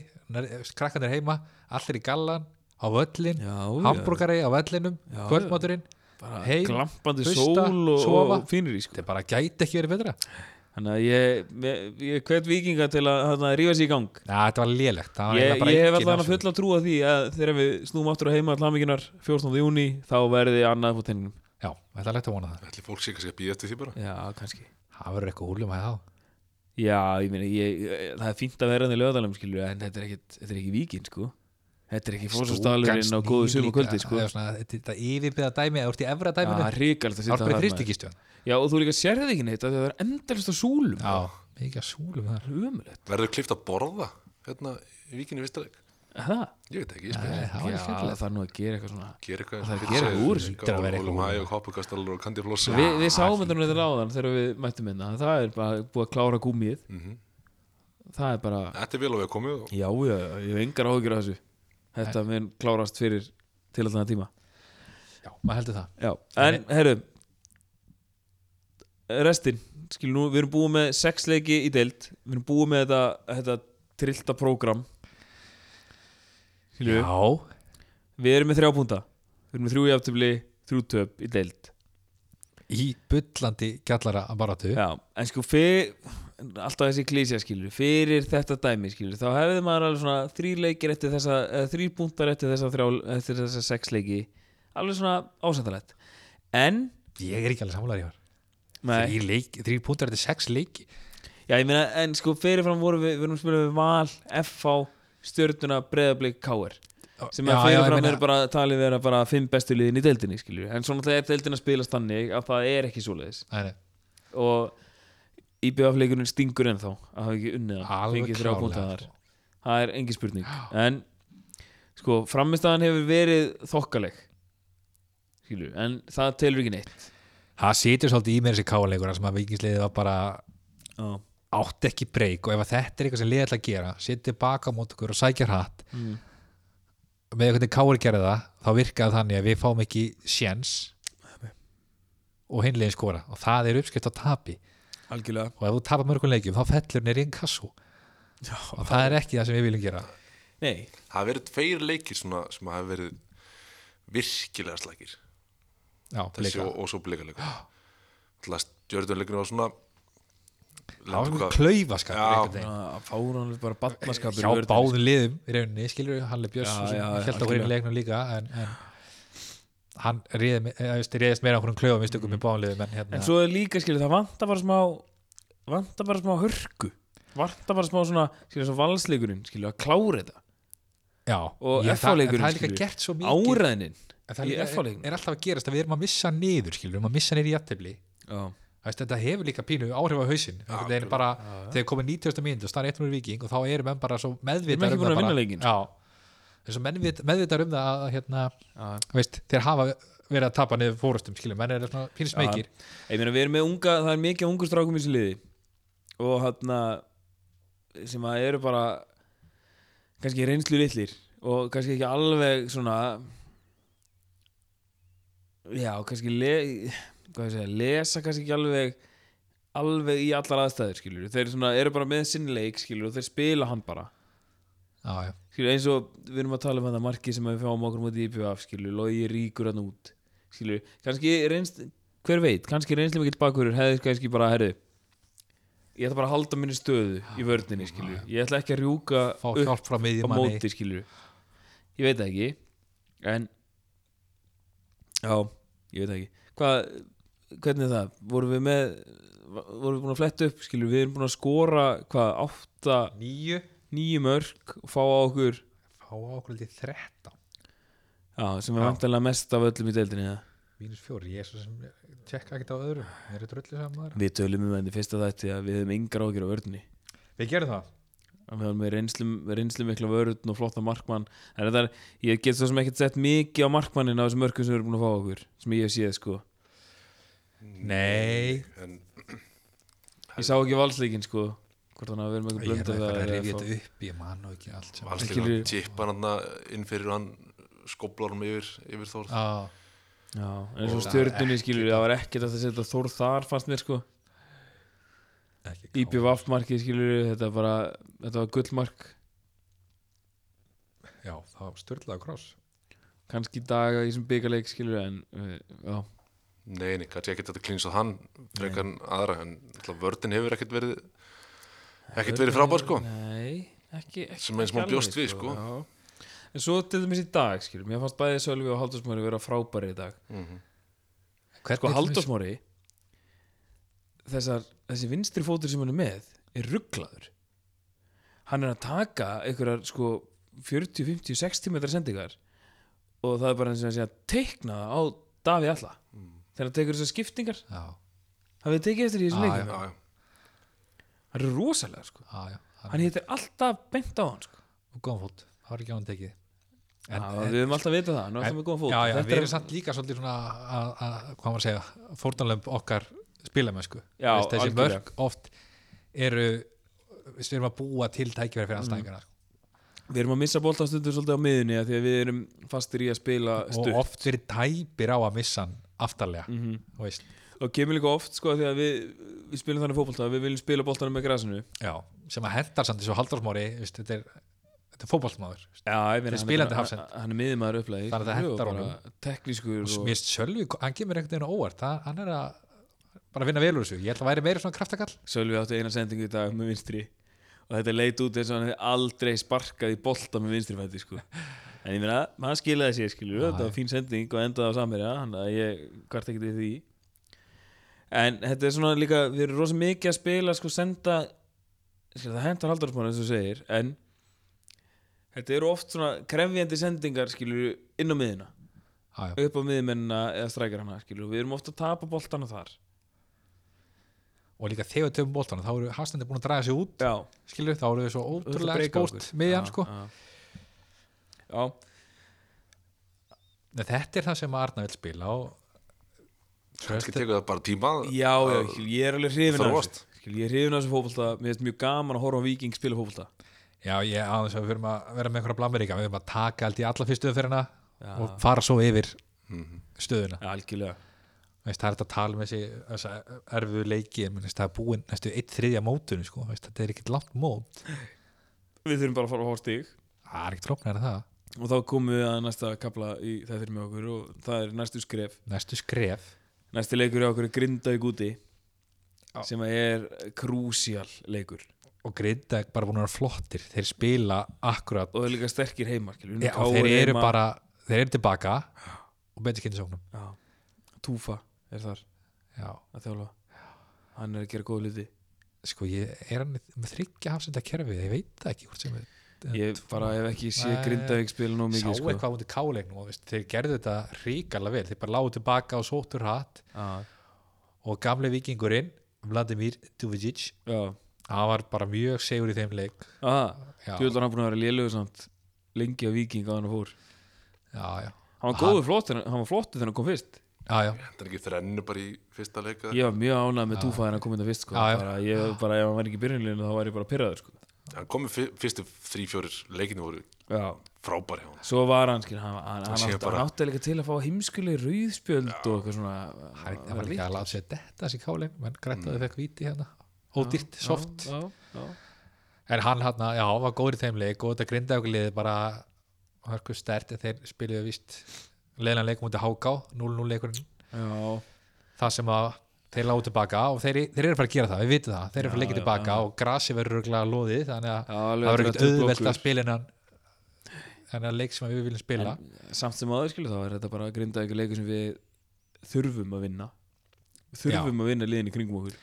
krakkan er heima allir í gallan, á völlin já, hambúrgari á vellinum, Já, kvöldmáturinn bara heim, glampandi hausta, sól og, sofa. og fínir í sko. þetta bara gæti ekki verið betra þannig að ég, ég, ég hvet vikinga til að hana, rífa sér í gang Já, þetta var lélegt það var ég, eiginlega bara ég hef engin allan að afsökun. fulla trú að því að þegar við snúum aftur á heima allamikinar 14. júni þá verði annað fór tenninum Já, þetta er lett að vona það ætli fólk sé kannski að býja eftir því bara já, kannski Það verður eitthvað húlum að þá já, ég meina, ég, það er fínt að vera hérna þannig lögadalum skilur, en þetta er ekkit- þetta er ekki vikin sko. þetta er ekki fórsastálurinn á góðu sum og kvöldi sko. Þetta yfirbyða dæmi, eða úr í efra það dæminu er ríkald að Það sitja var bara þarna. þrýstikistjón Já, og þú líka sér það ekki neitt af því að það er endalist á súlum Já, mikið að súlum þar Ömulegt Verður klift að borða hérna í vikinni vistaleg Það, Ég veit ekki, ég Nei, spyrir Það var já, það skemmtilegt þarf nú að gera eitthvað svona Gera eitthvað Það er að gera eitthvað úr þessu. Þetta er að vera Ólum eitthvað úr. hæg og hoppukastalur og kandiflossa Vi, Við sáum þetta nú þetta ráðan þegar við mættum minna Það er bara búið að klára gúmið Það er bara, Mhm. Þetta er vel að við komið og já, já, ég hef engar áhugjur af þessu Þetta mun klárast fyrir til allan tíma Já, maður heldur það Já, en herru Restin, skil nú, við erum búið með sex leiki í deild Við erum búið með þetta, þetta trillta prógram Skilju Já, Við erum með þrjá púnta Við erum með þrjú jafntöfli, þrjú töp í deild í bullandi gjallara að baratu Já, en sko fyrir alltaf þessi klísja skilur, fyrir þetta dæmi skilur, þá hefði maður alveg svona þrýr leikir eftir þessa, eða þrýr búntar eftir þessa þrjá, eftir þessa sex leiki alveg svona ásættalegt en, ég er ekki alveg sammálaður í nei, þrýr, leik, þrýr púntar þetta er sex leiki já ég meina en sko fyrirfram vorum við, við erum að spila við Val, FH, Stjörnuna, Breiðablík, KR, sem að fyrirfram er bara talið vera bara fimm bestu liðin í deildinni skilur, en svona það er deildin að spilast þannig að það er ekki svoleiðis bara og IBF-leikurinn stingur ennþá að hafa ekki unnið hann, alveg fengið þrjá púnta klárlega, þar sko. það er engin spurning en sko, framistæðan hefur verið þokkaleg skilur, en það telur ekki neitt það situr svolítið í mér þessi káleikur sem að vikingsliðið var bara já, átt ekki breyk og ef að þetta er eitthvað sem liðið ætla að gera situr baka á mót okkur og sækjar hatt mm. með eitthvað káir gerði það þá virkaði þannig að við fáum ekki sjens og hinlegin skora og það er uppskipt á tapi algjörlega og ef þú tapar mörgum leikjum þá fellur nýr í einn kassu og það er ekki það sem við viljum gera nei, Það hafa verið tveir leikir svona sem hafa verið virkilega slækir já, þessi blika. og, og svo blikalega alltaf stjörðunleikinu var svona það var svona hvað- Já. klaufaskap já, Fáránlega bara batnaskapur hjá báðum liðum í rauninni, skilur Halli Björns Já, já, held að algjörlega. hverjum leiknum líka en, en hann réði me- eða, þú veist, réðist meira okkur um klöfum í stökum í báðum liðum en hérna, Mhm. En svo er líka, skilur, það vantar bara smá vantar bara smá hörku vantar bara smá svona, skilur, svo valsleikurinn skilur, að klára þetta já, og ég, það, en FH-leikurinn, það er líka skilur. gert svo mikið áræðnin en það er, í líka, FH-leiknum. er alltaf að gerast að við erum að missa niður skilur, við erum að missa niður í jættefli Já, þetta hefur líka pínu áhrif á hausinn það er bara, þegar komið 90. mínúti og staðan 100 viking og þá eru menn bara svo Við erum meðvitað ekki búin að vinna leikinn. já, þess að meðvitað um það að hérna, já veist, þeir hafa verið að tapa niður fórustum, skilur, menn er svona pínu smekir Ég meina, við erum með unga, það er mikið af ungu strákum í þessu liði og hann sem að eru bara kannski reynslu litlir og kannski ekki alveg svona já, kannski le, hvað ég segja, lesa kannski ekki alveg alveg í allar aðstæður skilur þeir svona, eru bara með sinnleik skilur og þeir spila hann bara já, já, skilur, eins og við erum að tala um þetta markið sem við fáum okkur mútið í PF skilur, logi ríkur hann út skilur, kannski reynst hver veit, kannski reynslega mikill bakurur hefði kannski bara, herðu ég ætla bara að halda minni stöðu í vördninni skilur, ég ætla ekki að rjúka fá upp hjálp frá á miðjumanni móti skilur ég veit það ekki en já, ég veit það ekki hvað, hvernig er það, vorum við með vorum við búin að fletta upp skilur, við erum búin að skora hvað, átta, nýju nýju mörg og fá á okkur fá okkur lítið 13 Já, sem er Já. vantanlega mest af öllum í deildinni eða? mínus fjóri, ég er svo sem tjekka ekkert á öðrum, mér er dröllið saman Við tölum um henni fyrsta þætti að við hefum yngra ágjur á vörðinni við gerum það, að við hefum með reynslu, reynslu mikla vörðin og flotta markmann en þetta er, ég get svo sem ekkert sett mikið á markmannin á þessum mörgum sem við erum búin að fá okkur sem ég hef séð sko nei en Ég sá ekki valsleikin sko hvort þannig að við erum ég eitthvað er blönd eitthvað að eða, rifja þetta upp, ég man og ekki allt saman. allir Skilur- hann tippan hann inn fyrir og hann skoblar hann yfir, yfir Þórð Já, Já, en eins og stjörnunni skilur það var ekkert að það setja Þór þar fannst mér sko ekki kápa. IPVAF markið skilur þetta bara, þetta var gullmark já, það var störlaða kross kannski í dag í þessum byggarleik skilur en eh, já, Nei, nei, kannski ekkert að klýnsa hann frekar en aðra, en alltaf vördin hefur ekkert verið ekkert verið frábær sko Nei, ekki, ekki Sem eins og maður ekki bjóst alveg, við, sko. já. En svo til dæmis í dag, skilur Mér fannst bæði Sölvi og Halldórsmóri vera frábæri í dag Hvernig Sko til dæmis- Halldórsmóri Þessar, þessi vinstri fótur sem hann er með Er rugglaður Hann er að taka einhverjar sko 40, 50, 60 metrar sendingar Og það er bara eins og hann sé að teikna það á Davi alla Mm. Þegar hann tekur þessar skiptingar já, Hafið þið tekið eftir í þessum Ah, leikum já. Já, já. Hann er rosalega sko já, já, hann Hann hittir alltaf beint á hann sko og góðan fót, það var ekki á hann tekið Já, við höfum alltaf vitað það, nú en- ætlum við góðan fót já, já, Þetta við erum samt líka svolítið svona að, að, hvað maður að segja, fórtanlömb okkar spilamennsku, Já, Veist, þessi algjörlega. mörg oft eru við erum að búa til tækifæri fyrir anstæðingarna mm. Við erum að missa boltastundur svolítið á miðunni af því að við erum fastir í að spila og stutt og, oft verið tæpir á að missa hann aftarlega, mm veist kemur líka oft sko af því að við, við spilum þannig fótbolta að við viljum spila boltanum með grasinu já, sem að hendar samt þessu haldarsmári veist, þetta er, þetta er fótballmáður Já, ég meina Þeir spilandi hann, hafsend. hann, hann er miðumæður upplæði Þannig að það hentar Teknískur og og, mér sjálfi, hann kemur einhvern veginn á óvart það, hann er að bara vinna vel úr þessu ég held að væri meira svona kraftakall Sölvi átti eina sendingu í dag með vinstri og þetta leit út eins og hann hefði aldrei sparkað í bolta með vinstri fætti sko En ég meina, hann skilaði sér skilur Já, þetta var fín sending og endaði á samherja þannig að ég kvart ekkert við því En þetta er svona líka við erum rosa mikið að spila sko senda skilur, það hentar haldarsmána eins og þú segir en þetta eru oft svona krefjandi sendingar skilur inn á miðina já, já. upp á miðmennina eða strækjar hana skilur við erum oft að tapa boltana þar og líka þegar við töfum bóltana þá eru hafstandi búin að draga sig út Já skilur, þá eru við svo Þú ert að ótrúlega breyka spóst okkur. miðjan Já, sko. já. Já, Nei, þetta er það sem Arna vil spila og kannski tekur það bara tíma já, já, skil, ég er alveg hrifin af Þróast. þessu skil, Ég er hrifin af þessu fótbolta Mér finnst mjög gaman að horfa á Víking spila fótbolta já, ég aðeins að við verum að vera með einhverja blammeríka, við verum að taka allt í alla fyrstu umferðina og fara svo yfir stöðuna. Já, algjörlega Veist, það er þetta að tala með þessi, þessi erfu leiki, en veist, það er búin næstu eitt þriðja mótunum, sko, veist, þetta er ekkert langt mót Við þurfum bara að fara að horfa stig það er ekkert flóknar en það og þá komum við að næsta kapla í þættir með okkur og það er næstu skref Næstu skref næsti leikur í okkur er Grindavík úti Já. sem að er krúsíal leikur og Grindag bara búin að vera flottir þeir spila akkurat og það er líka sterkir heimarkil Já, og þeir E eru bara, þeir eru tilbaka og betur kynni sóknum já, Túfa er þar Já, að þjálfa hann er að gera góð hluti sko ég er hann með- með þryggja hafsenda kerfið, ég veit það ekki hvort sem er ég bara hef ekki sé Nei. Grindavík spila nóg sá mikið sko. eitthvað út í káleiknum og veist, þeir gerðu þetta ríkarlega vel þeir bara lágu tilbaka og sóttur hatt Já, og gamli vikingurinn Vladimir Duvijic já, hann var bara mjög segur í þeim leik aha já, já, Tjóðlar hann búin að vera lélugu samt lengi á Víking á hann og fór já, hann var góður flott, hann var flottur þegar hann kom fyrst já, já. Þetta er ekki þrennu bara í fyrsta leika ég var mjög ánægð með túfa þegar hann kom inn fyrst sko. Já, já. bara, ég, bara ef hann var ekki í byrjunleginu þá var ég bara pyrraður sko. Hann komið fyrstu þrý, fjórir leikinu voru já, frábæri hjá hann svo var hann skil, hann, hann, hann sé átti bara- bara... átti líka til að fá heimskulegi rauðspjöld og eitthvað svona Hann, var hann var líka líkt. að láta sér detta þessi káleik menn grættaði mm. fekk víti hérna ódýrt, soft já, já, já. en hann hann, já, hann var góður í þeim leik og þetta grindaði okkur liðið bara hörku stert en þeir spiluðu vist leiðan leikum út að háká 0-0 leikurinn Já, það sem að þeir lágu tilbaka og þeir, þeir eru að fara að gera það, við vitum það þeir eru að fara að leika Já, já, tilbaka og grasi verður röglega loðið þannig að Já, það alveg verður að ekkert draga auðvelt töflublokkur. að spila innan þannig að leik sem við viljum spila samt sem aðeins skilur þá er þetta bara að grinda eitthvað leikur sem við þurfum að vinna þurfum að vinna liðin í kringum okkur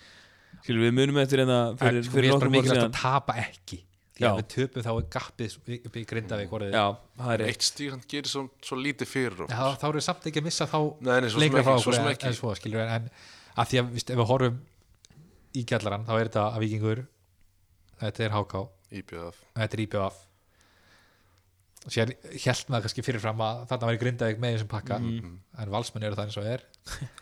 skilur við munum eftir en það en fyrir, sko, mér fyrir er bara okkur mór mikilvægt síðan að tapa ekki því Já. að við töpum þá er gappið upp í grindavík orðið já, það er Eitt stíl hann gerir svo, svo lítið fyrir okkur. Já, þá, þá eru við samt ekki að missa þá Nei, nei, svo sem leikra ekki, frá svo okkur sem en, ekki. en svo skilur við en að því að víst, ef við horfum í gællarann þá er þetta að vikingur þetta er háká, IBF þetta er íbjöf og sér held maður kannski fyrirfram að þarna væri grindaðið með þessum pakka Mhm. en valsmenn eru það eins og er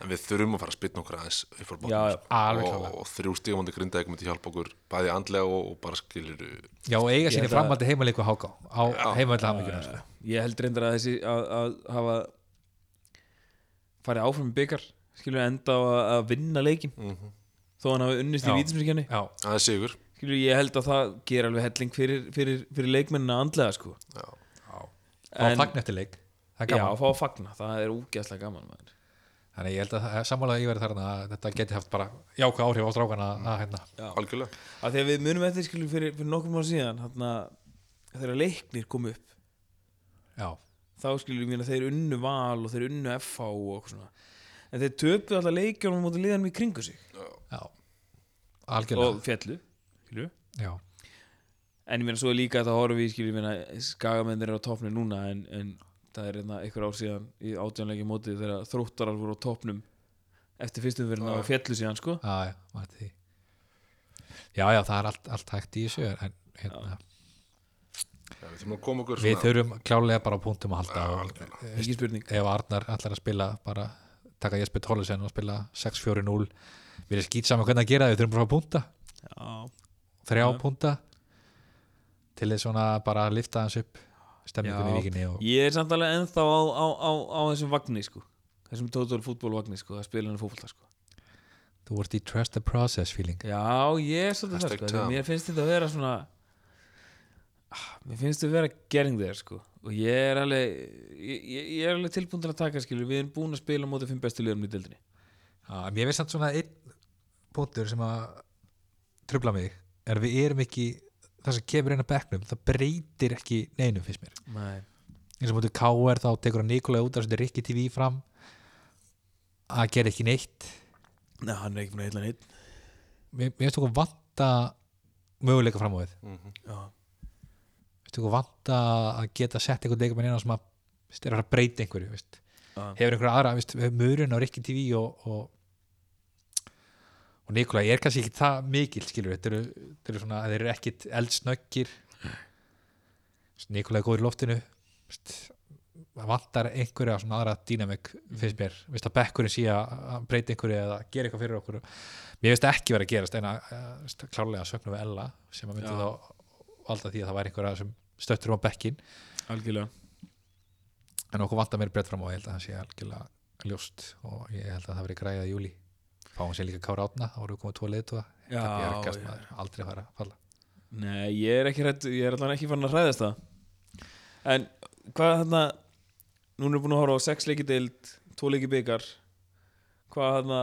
En við þurfum að fara að spytna okkur aðeins upp frá bóttum Já, já, alveg og, klárlega. og þrjú stígumandi grindaði myndi hjálpa okkur bæði andlega og, og bara skilur já og eiga held sinni að- framhaldi heimaleiku háká á heimaleiku hamingjunar sko. ég held reyndar að þessi að, að hafa farið áfram í byggar skilur við enda á að, að vinna leikin þó hann hafi unnist í Já. vítismyrkjani já, mhm, aðeins sigur skilur við, ég held að það ger alveg helling fyrir, fyrir, fyrir leikmennina andlega sko Já. og En- fagn eftir leik það er já, gaman að fá að fagna, það er úgeðslega gaman maður. þannig ég held að sammálaði ég verið þarna að þetta geti haft bara jákvæð áhrif á strákana Mm. að hérna Algjörlega að því að við munum eftir skilur fyrir, fyrir nokkrum ára síðan þarna, þegar leiknir kom upp já, þá skilur við að þeir unnu val og þeir unnu FH og okkur svona en þeir töpuðu alltaf leikjónum mútið liðanum í kringu sig já algjörlega og fjallu skilur. já, en ég meina svo er líka þetta horfi skilur ég meina skagamennir eru á topnum núna en, en það er einna einhver ár síðan í átjánleiki mótið þegar þróttarar voru á topnum eftir fyrstum verðin á fjallu síðan sko já, já, var því já, já, það er allt, allt hægt í þessu en hérna, Já, Við þurfum að koma okkur við þurfum klálega bara á punktum að halda Já, og algjörlega. ekki spurning ef Arnar allar að spila bara taka Jesper Tollesen og spila 6-4-0 við erum skýt saman hvernig að gera það, við þurfum bara að fá punta já, þrjá punta til þess svona bara að lifta hans upp stemmingunni Já. í vikinni og Ég er samt alveg ennþá á, á, á, á þessum vagni sko þessum total fútból vagni sko að spila henni fótbolta sko þú ert í trust the process feeling Já, ég er svolítið það Hashtag sko því að Tom. mér finnst þetta að vera svona Ah, mér finnst þetta að vera getting there sko og ég er alveg ég, ég ég er alveg tilbúin til að taka skilur við erum búin að spila á móti fimm bestu liðum í dildinni Já, mér finnst samt svona einn punktur sem að tröfla mig er að við erum ekki það sem kemur inn að bekknum, það breytir ekki neinum finnst mér. Nei. Eins og mútið KR þá tekur hann Nikolai út að setja Rikki TV fram að gera ekki neitt Nei, hann er ekki búin að heilla neitt mér mér finnst okkur vanta möguleika fram á við mér Mhm. Já, finnst okkur vanta að geta sett einhvern leikamenn inn á sem að veist, er að fara að breyta einhverju veist. Já. hefur einhverja aðra, veist, hefur mörun á Rikki TV og, og og Nikolai er kannski ekki það mikil skilur, þetta eru, þetta eru svona þeir eru ekkit eldsnöggir Veist, Nikolai er góður í loftinu veist, það vantar einhverja svona aðra dýnamik finnst mér, veist að bekkurinn sé að að breyta einhverju eða gera eitthvað fyrir okkur mér veist ekki verið að gerast en að eh, veist, klárlega sögnum við Ella sem að myndi Já. þá valda því að það væri einhverja sem stöttur um á bekkin algjörlega en okkur vantar meir breytt fram og ég held að það sé algjörlega ljóst og ég held að það verið græða í júli fáum sér líka Kára Átna, þá voru komið tvo leiðtúa Já, það björgast já. maður, aldrei fara að falla Nei, ég er ekki rætt, ég er allan ekki fann að hræðast það en hvað hérna núna er búin að horfa á sex leiki deild tvo leiki byggar hvað hérna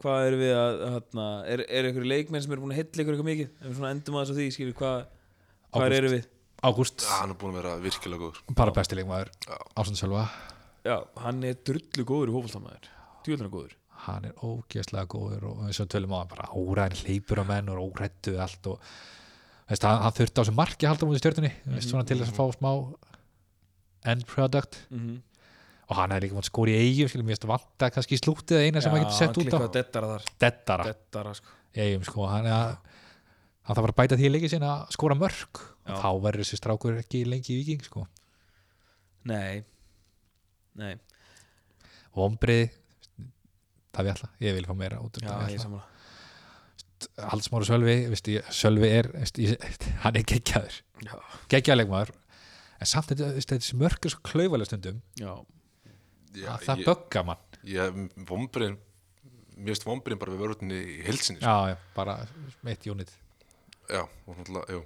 hvað er við að hérna, er, er einhverju leikmenn sem er búin að hitla ykkur eitthvað mikið ef við svona endum aðeins á því skilur hvað hvað Ágúst. eru við Ágúst, Já, Ah, hann er búin að vera virkilega góður bara besti leikmaður Ásand Sjölva, já hann er drullu góður í hófaldamæður djúðlunar góður hann er ógeðslega góður og eins og við tölum á hann bara óræðin hleypur á menn og órættu allt og veist, hann, hann þurfti á þessu marki að halda mútið stjörnunni, veist, svona til þess að fá smá end product mm -hmm. og hann hefði líka mátt skóri í eigum skilum, ég veist, vanta kannski í slútið eina sem hann getur sett út á dettara þar dettara dettara sko í eigum sko, hann er að hann þarf bara að bæta því í leikið sinna að skora mörg Já. þá verður þessi strákur ekki lengi í viking sko. nei nei vombrið það við alltaf, ég vil fá meira út úr já það ég er sammála Haldsmáru Sölvi, veist, ég, Sölvi er veist, ég, hann er geggjaður, já geggjaðleikmaður en samt þetta, veist, þessi mörg er svo klaufalega stundum já Já, að Ah, það ég, bögga mann ég, vombriðin mér finnst vombriðin bara við vörðinni í helsinni já, já, bara eitt jónit Já, og náttúrulega, jú,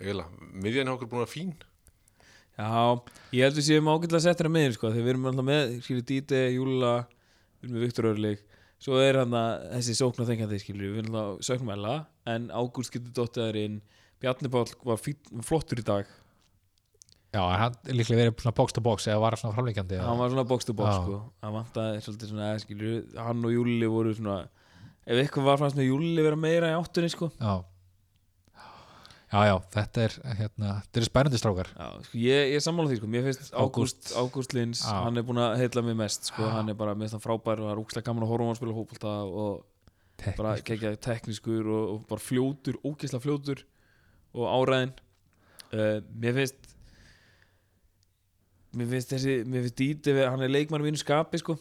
eiginlega miðjan hjá okkur búin að vera fín Já, ég held við séum ágætlega settir að miðin sko, þegar við erum alltaf með, skilur, Díte, Júla við erum með Viktor Örlík svo er hann að þessi sókna þengjandi skilur, við erum alltaf söknum um ella en Ágúst getur dottaðar inn Bjarni Páll var fín, flottur í dag já, en hann er líklega verið svona box to box eða var svona framleikjandi hann var svona box to box Já. sko hann vantaði svolítið svona, eða, skilur, hann og Júli voru svona, ef eitthvað var fannst með Júli vera meira í áttunni sko já. já, já, þetta er hérna, þetta er spennandi strákar Já, sko, ég, ég er sammála því sko, mér finnst Ágúst Ágúst Lins, Já. hann er búin að heilla mig mest sko, hann er bara með það frábær og það er úkslega gaman að horfa á hann spila hópulta og Teknískur. bara kekja teknískur og, og bara fljótur, ógeðslega fljótur og áræðin uh, mér finnst mér finnst þessi, mér finnst Díti hann er leikmann mínu skapi sko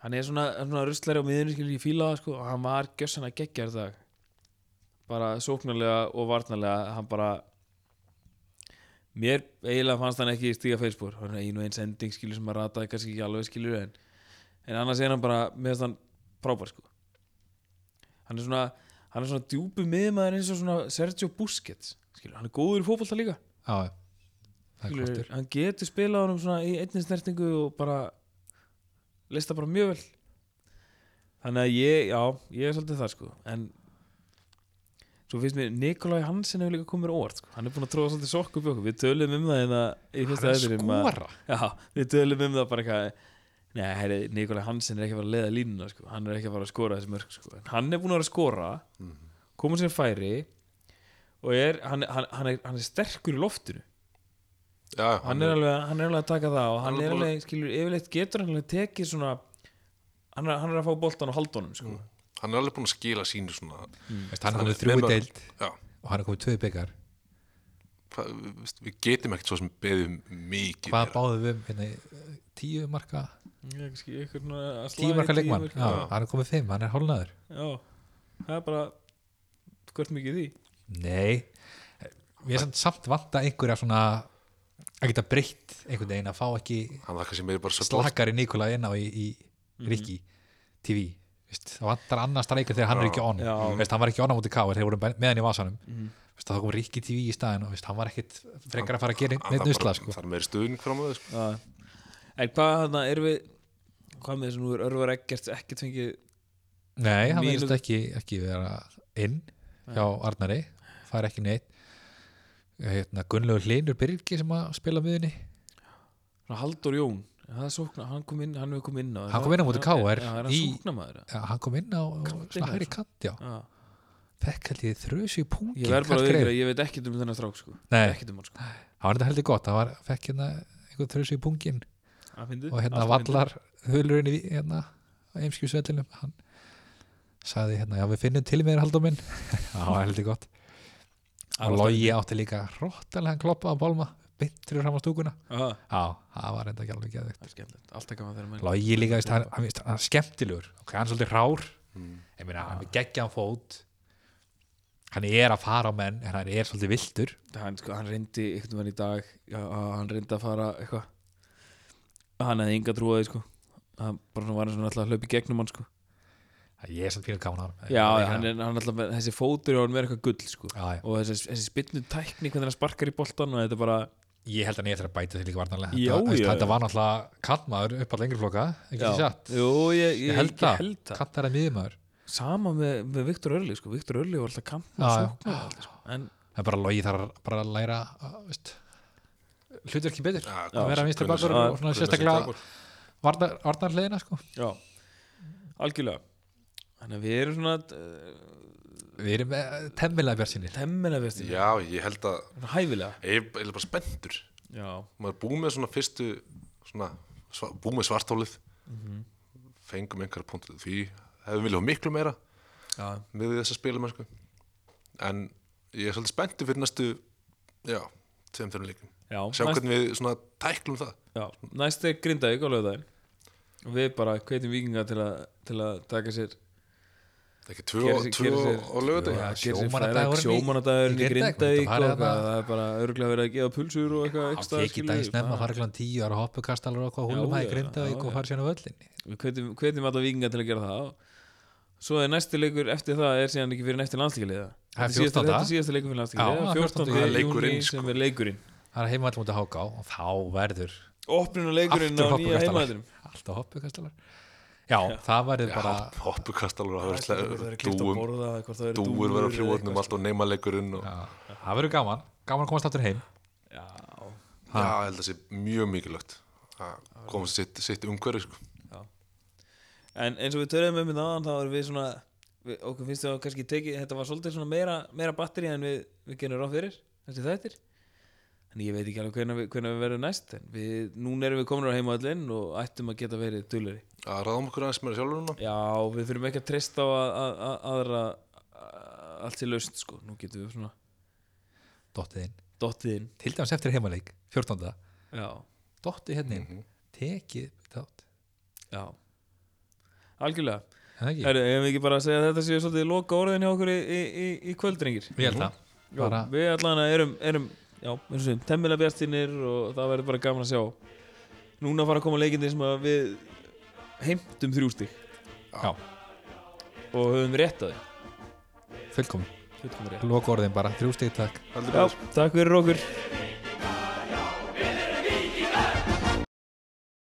hann er svona, svona ruslari á miðinu skilur ég fíla það sko og hann var gjössan að gegja þér dag bara sóknarlega og varnarlega hann bara mér eiginlega fannst hann ekki stíga feispor hann er einu eins ending skilur sem að rataði kannski ekki alveg skilur en, en annars er hann bara mér finnst hann frábær sko hann er svona hann er svona djúpi miðmaður eins og svona Sergio Busquets skilur hann er góður í fótbolta líka já, já, það er skilur, kvartur hann getur spilað honum svona í einni snertingu og bara leist það bara mjög vel þannig að ég, já, ég er svolítið það sko en svo finnst mér Nikolai Hansen hefur líka komið mér á óvart sko. hann er búin að tróða svolítið sokk upp í okkur við tölum um það hérna í hann fyrsta er að þættinum að- skora Já, við tölum um það bara eitthvað Nei, heyri, Nikolai Hansen er ekki að fara að leiða línuna sko. hann er ekki að fara að skora þessi mörg sko. En hann er búin að vera að skora koma sér færi og er, hann, hann, hann, er, hann er sterkur í loftinu Já, já, hann er, alveg, hann er alveg að taka það og hann Hann er er búin að- alveg, skilur, yfirleitt getur hann alveg tekið svona hann er, hann er að fá boltan og haldunum sko. hann er alveg búin að skila sínu svona Veist, hann er Hann komið er þrjú með í mörg. deild Já, og hann er komið tvö í byggar hvað, við- veist, við getum ekkert svo sem beðum mikið hvað meira. báðum við um hérna, í, tíu marka Ég er kannski einhvern veginn að tíu slá í marka leikmann, tíu já, marka. hann er komið fimm hann er hálnaður, Já, það er bara hvert mikið í því nei við erum samt vanta einhverja svona að geta breytt einhvern veginn að fá ekki hann er kannski meira bara support slakari Nikola inn á í, í Rikki TV veist, það vantar annar streika þegar hann er ekki on Já. veist, hann var ekki on á móti K þegar voru með hann í vasanum Mhm. veist, þá kom Rikki TV í staðin og veist, hann var ekkit frekar að fara að gera Hann neitt þarf nusla bara- sko. þarf meiri stuðning fram á þau sko. Já. En hvað þarna erum við hvað með þess að nú er Örvar Eggert ekkert fengið nei, hann Mínus- verðist ekki, ekki vera inn hjá Arnari það er ekki neitt hérna, Gunnlaugur Hlinur Byrgi sem að spila eh, miðunni svona Haldur Jón en það er sókna, hann kom inn, hann hefur kom inn á Hann kom inn á móti KR Já, er hann í- sóknamaður? Já, hann kom inn á Kantinn, slagri sko. kant já. Já. fekk held ég þrjusi í pungi Ég verð bara að ykkur, ég veit ekkert um þennan strák sko. Nei. ekkert um hann sko. það var þetta heldur gott, það var, fekk hérna einhvern þrjusi í pungin Það fyndið. og hérna Ah, Allt fyndið. vallar hulurinn í hérna eimskjúsvellinum hann sagði hérna, já við finnum til meira haldum minn það var heldur gott var og logi átti líka hróttalega kloppa á bólma, byttur fram á stúkuna Já, já, það var enda ekki alveg Ah, geðvikt það er skemmtilegt, alltaf gaman þegar menn logi líka, veist, hann, hann, veist, hann er skemmtilegur ok, hann er svolítið rár Mm. ég meina, hann er geggjaðan fót hann er að fara á menn en hann er svolítið viltur hann, sko, hann reyndi einhvern veginn í dag já, að hann reyndi að fara eitthvað hann hefði enga trúaði sko. hann bara svona var hann svona alltaf að hlaupa í gegnum hann sko. ég er samt fyrir gaman á hann já, já, hann er hann alltaf með, þessi fótur á hann er eitthvað gull sko. já, já. og þessi, þessi spilnu tækni hvernig hann sparkar í boltan og þetta er bara ég held að hann ég eftir að bæta því líka varnarlega Já, þetta, já, þetta já. var náttúrulega kallmaður upp að lengri flokka ekki Já. því satt Jú, ég, ég, ég held ég það, held það. kallar er miðmaður Sama með, með Viktor Örli sko. Viktor Örli var alltaf kamp Já, já. sko. En það er bara logi þar að- bara að læra að, veist, hlutverki betur Já, að vera vinstri bakur Já, og svona sérstaklega varnar, varnarlegina sko. já, algjörlega Þannig að við erum svona uh, við erum með temmilega björnsinni temmina vestir Já, ég held að Hæfilega ég er eiginlega bara spenntur Já, maður er búið með svona fyrstu svona, sva, búið með svartólið Mhm. fengum einhverja punktu því hefðum viljað miklu meira já, með þess að spila mennsku en ég er svolítið spenntur fyrir næstu já, tveim þeirra leikum já, sjá næst- hvernig við svona tæklum það já Næst er Grindavík á lögðaðin og við bara hvetjum vikinga til að, til að taka sér það er ekki tvö, Gera sér- tvö gera sér- á lögutum Já, sjómanadagurinn sjómannadagurinn í- sjómanadagurinn í í Grindavík Grindavík og og eitthvað, eitthvað. það er bara örgulega verið að gefa pulsur og eitthvað það ekstra, tekið skilur við. daginn snemma að Já. fara klant tíu ára hoppukastalur og Já, húlum hæg já, grindavík já, og fara sérna völlin við hvetjum, hvetjum alltaf vikinga til að gera það og svo er næsti leikur eftir það er síðan ekki fyrir næsti landsleikilega Það þetta er er síðasta- 14. þetta er síðasta leikur fyrir Já, landsleikilega það er 14. 14. júni Leikurinn, sko. sem er leikurinn það er heimall mútið að háka á og þá verður opnuna leikurinn á nýja aftur hoppukastalar heimaðurum alltaf hoppukastalar já, það verður bara hoppukastalur að vera dúum dúur dúur vera frjóðnum allt og neymaleikurinn og já, já, það verður gaman, gaman að komast aftur heim já, ég held að sé mjög mikilvægt að komast sitt, sitt umhverju sko. En eins og við töluðum um í þaðan þá erum við svona við, okkur finnst það kannski tekið þetta var svolítið svona meira, meira batteri en við, við genum ráð fyrir þessi þættir en ég veit ekki alveg hvernig við, hvernig við verðum næst en við, núna erum við komin á heimaðallinn og ættum að geta verið dullari að ráðum okkur aðeins meira sjálfur núna Já, við þurfum ekki að treysta á að, að, að, aðra að- allt til laust sko, nú getum við svona dottið inn, dottið inn til dæmis eftir heimaleik 14. Já, dottið hérna inn, tekið þátt, já Algjörlega, er það ekki? Heru, ef við ekki bara að segja að þetta séu svolítið loka orðin hjá okkur í, í, í, í kvöldringir ég held það, Já, bara við allan erum, erum já, eins og sem, temmilega bjartinir og það verður bara gaman að sjá núna fara að koma leikindir sem að við heimtum þrjústig já, og höfum rétt að því fullkomin, Fullkomið rétt. loka orðin bara, þrjú stíð takk heldur já, betur takk fyrir okkur Takk.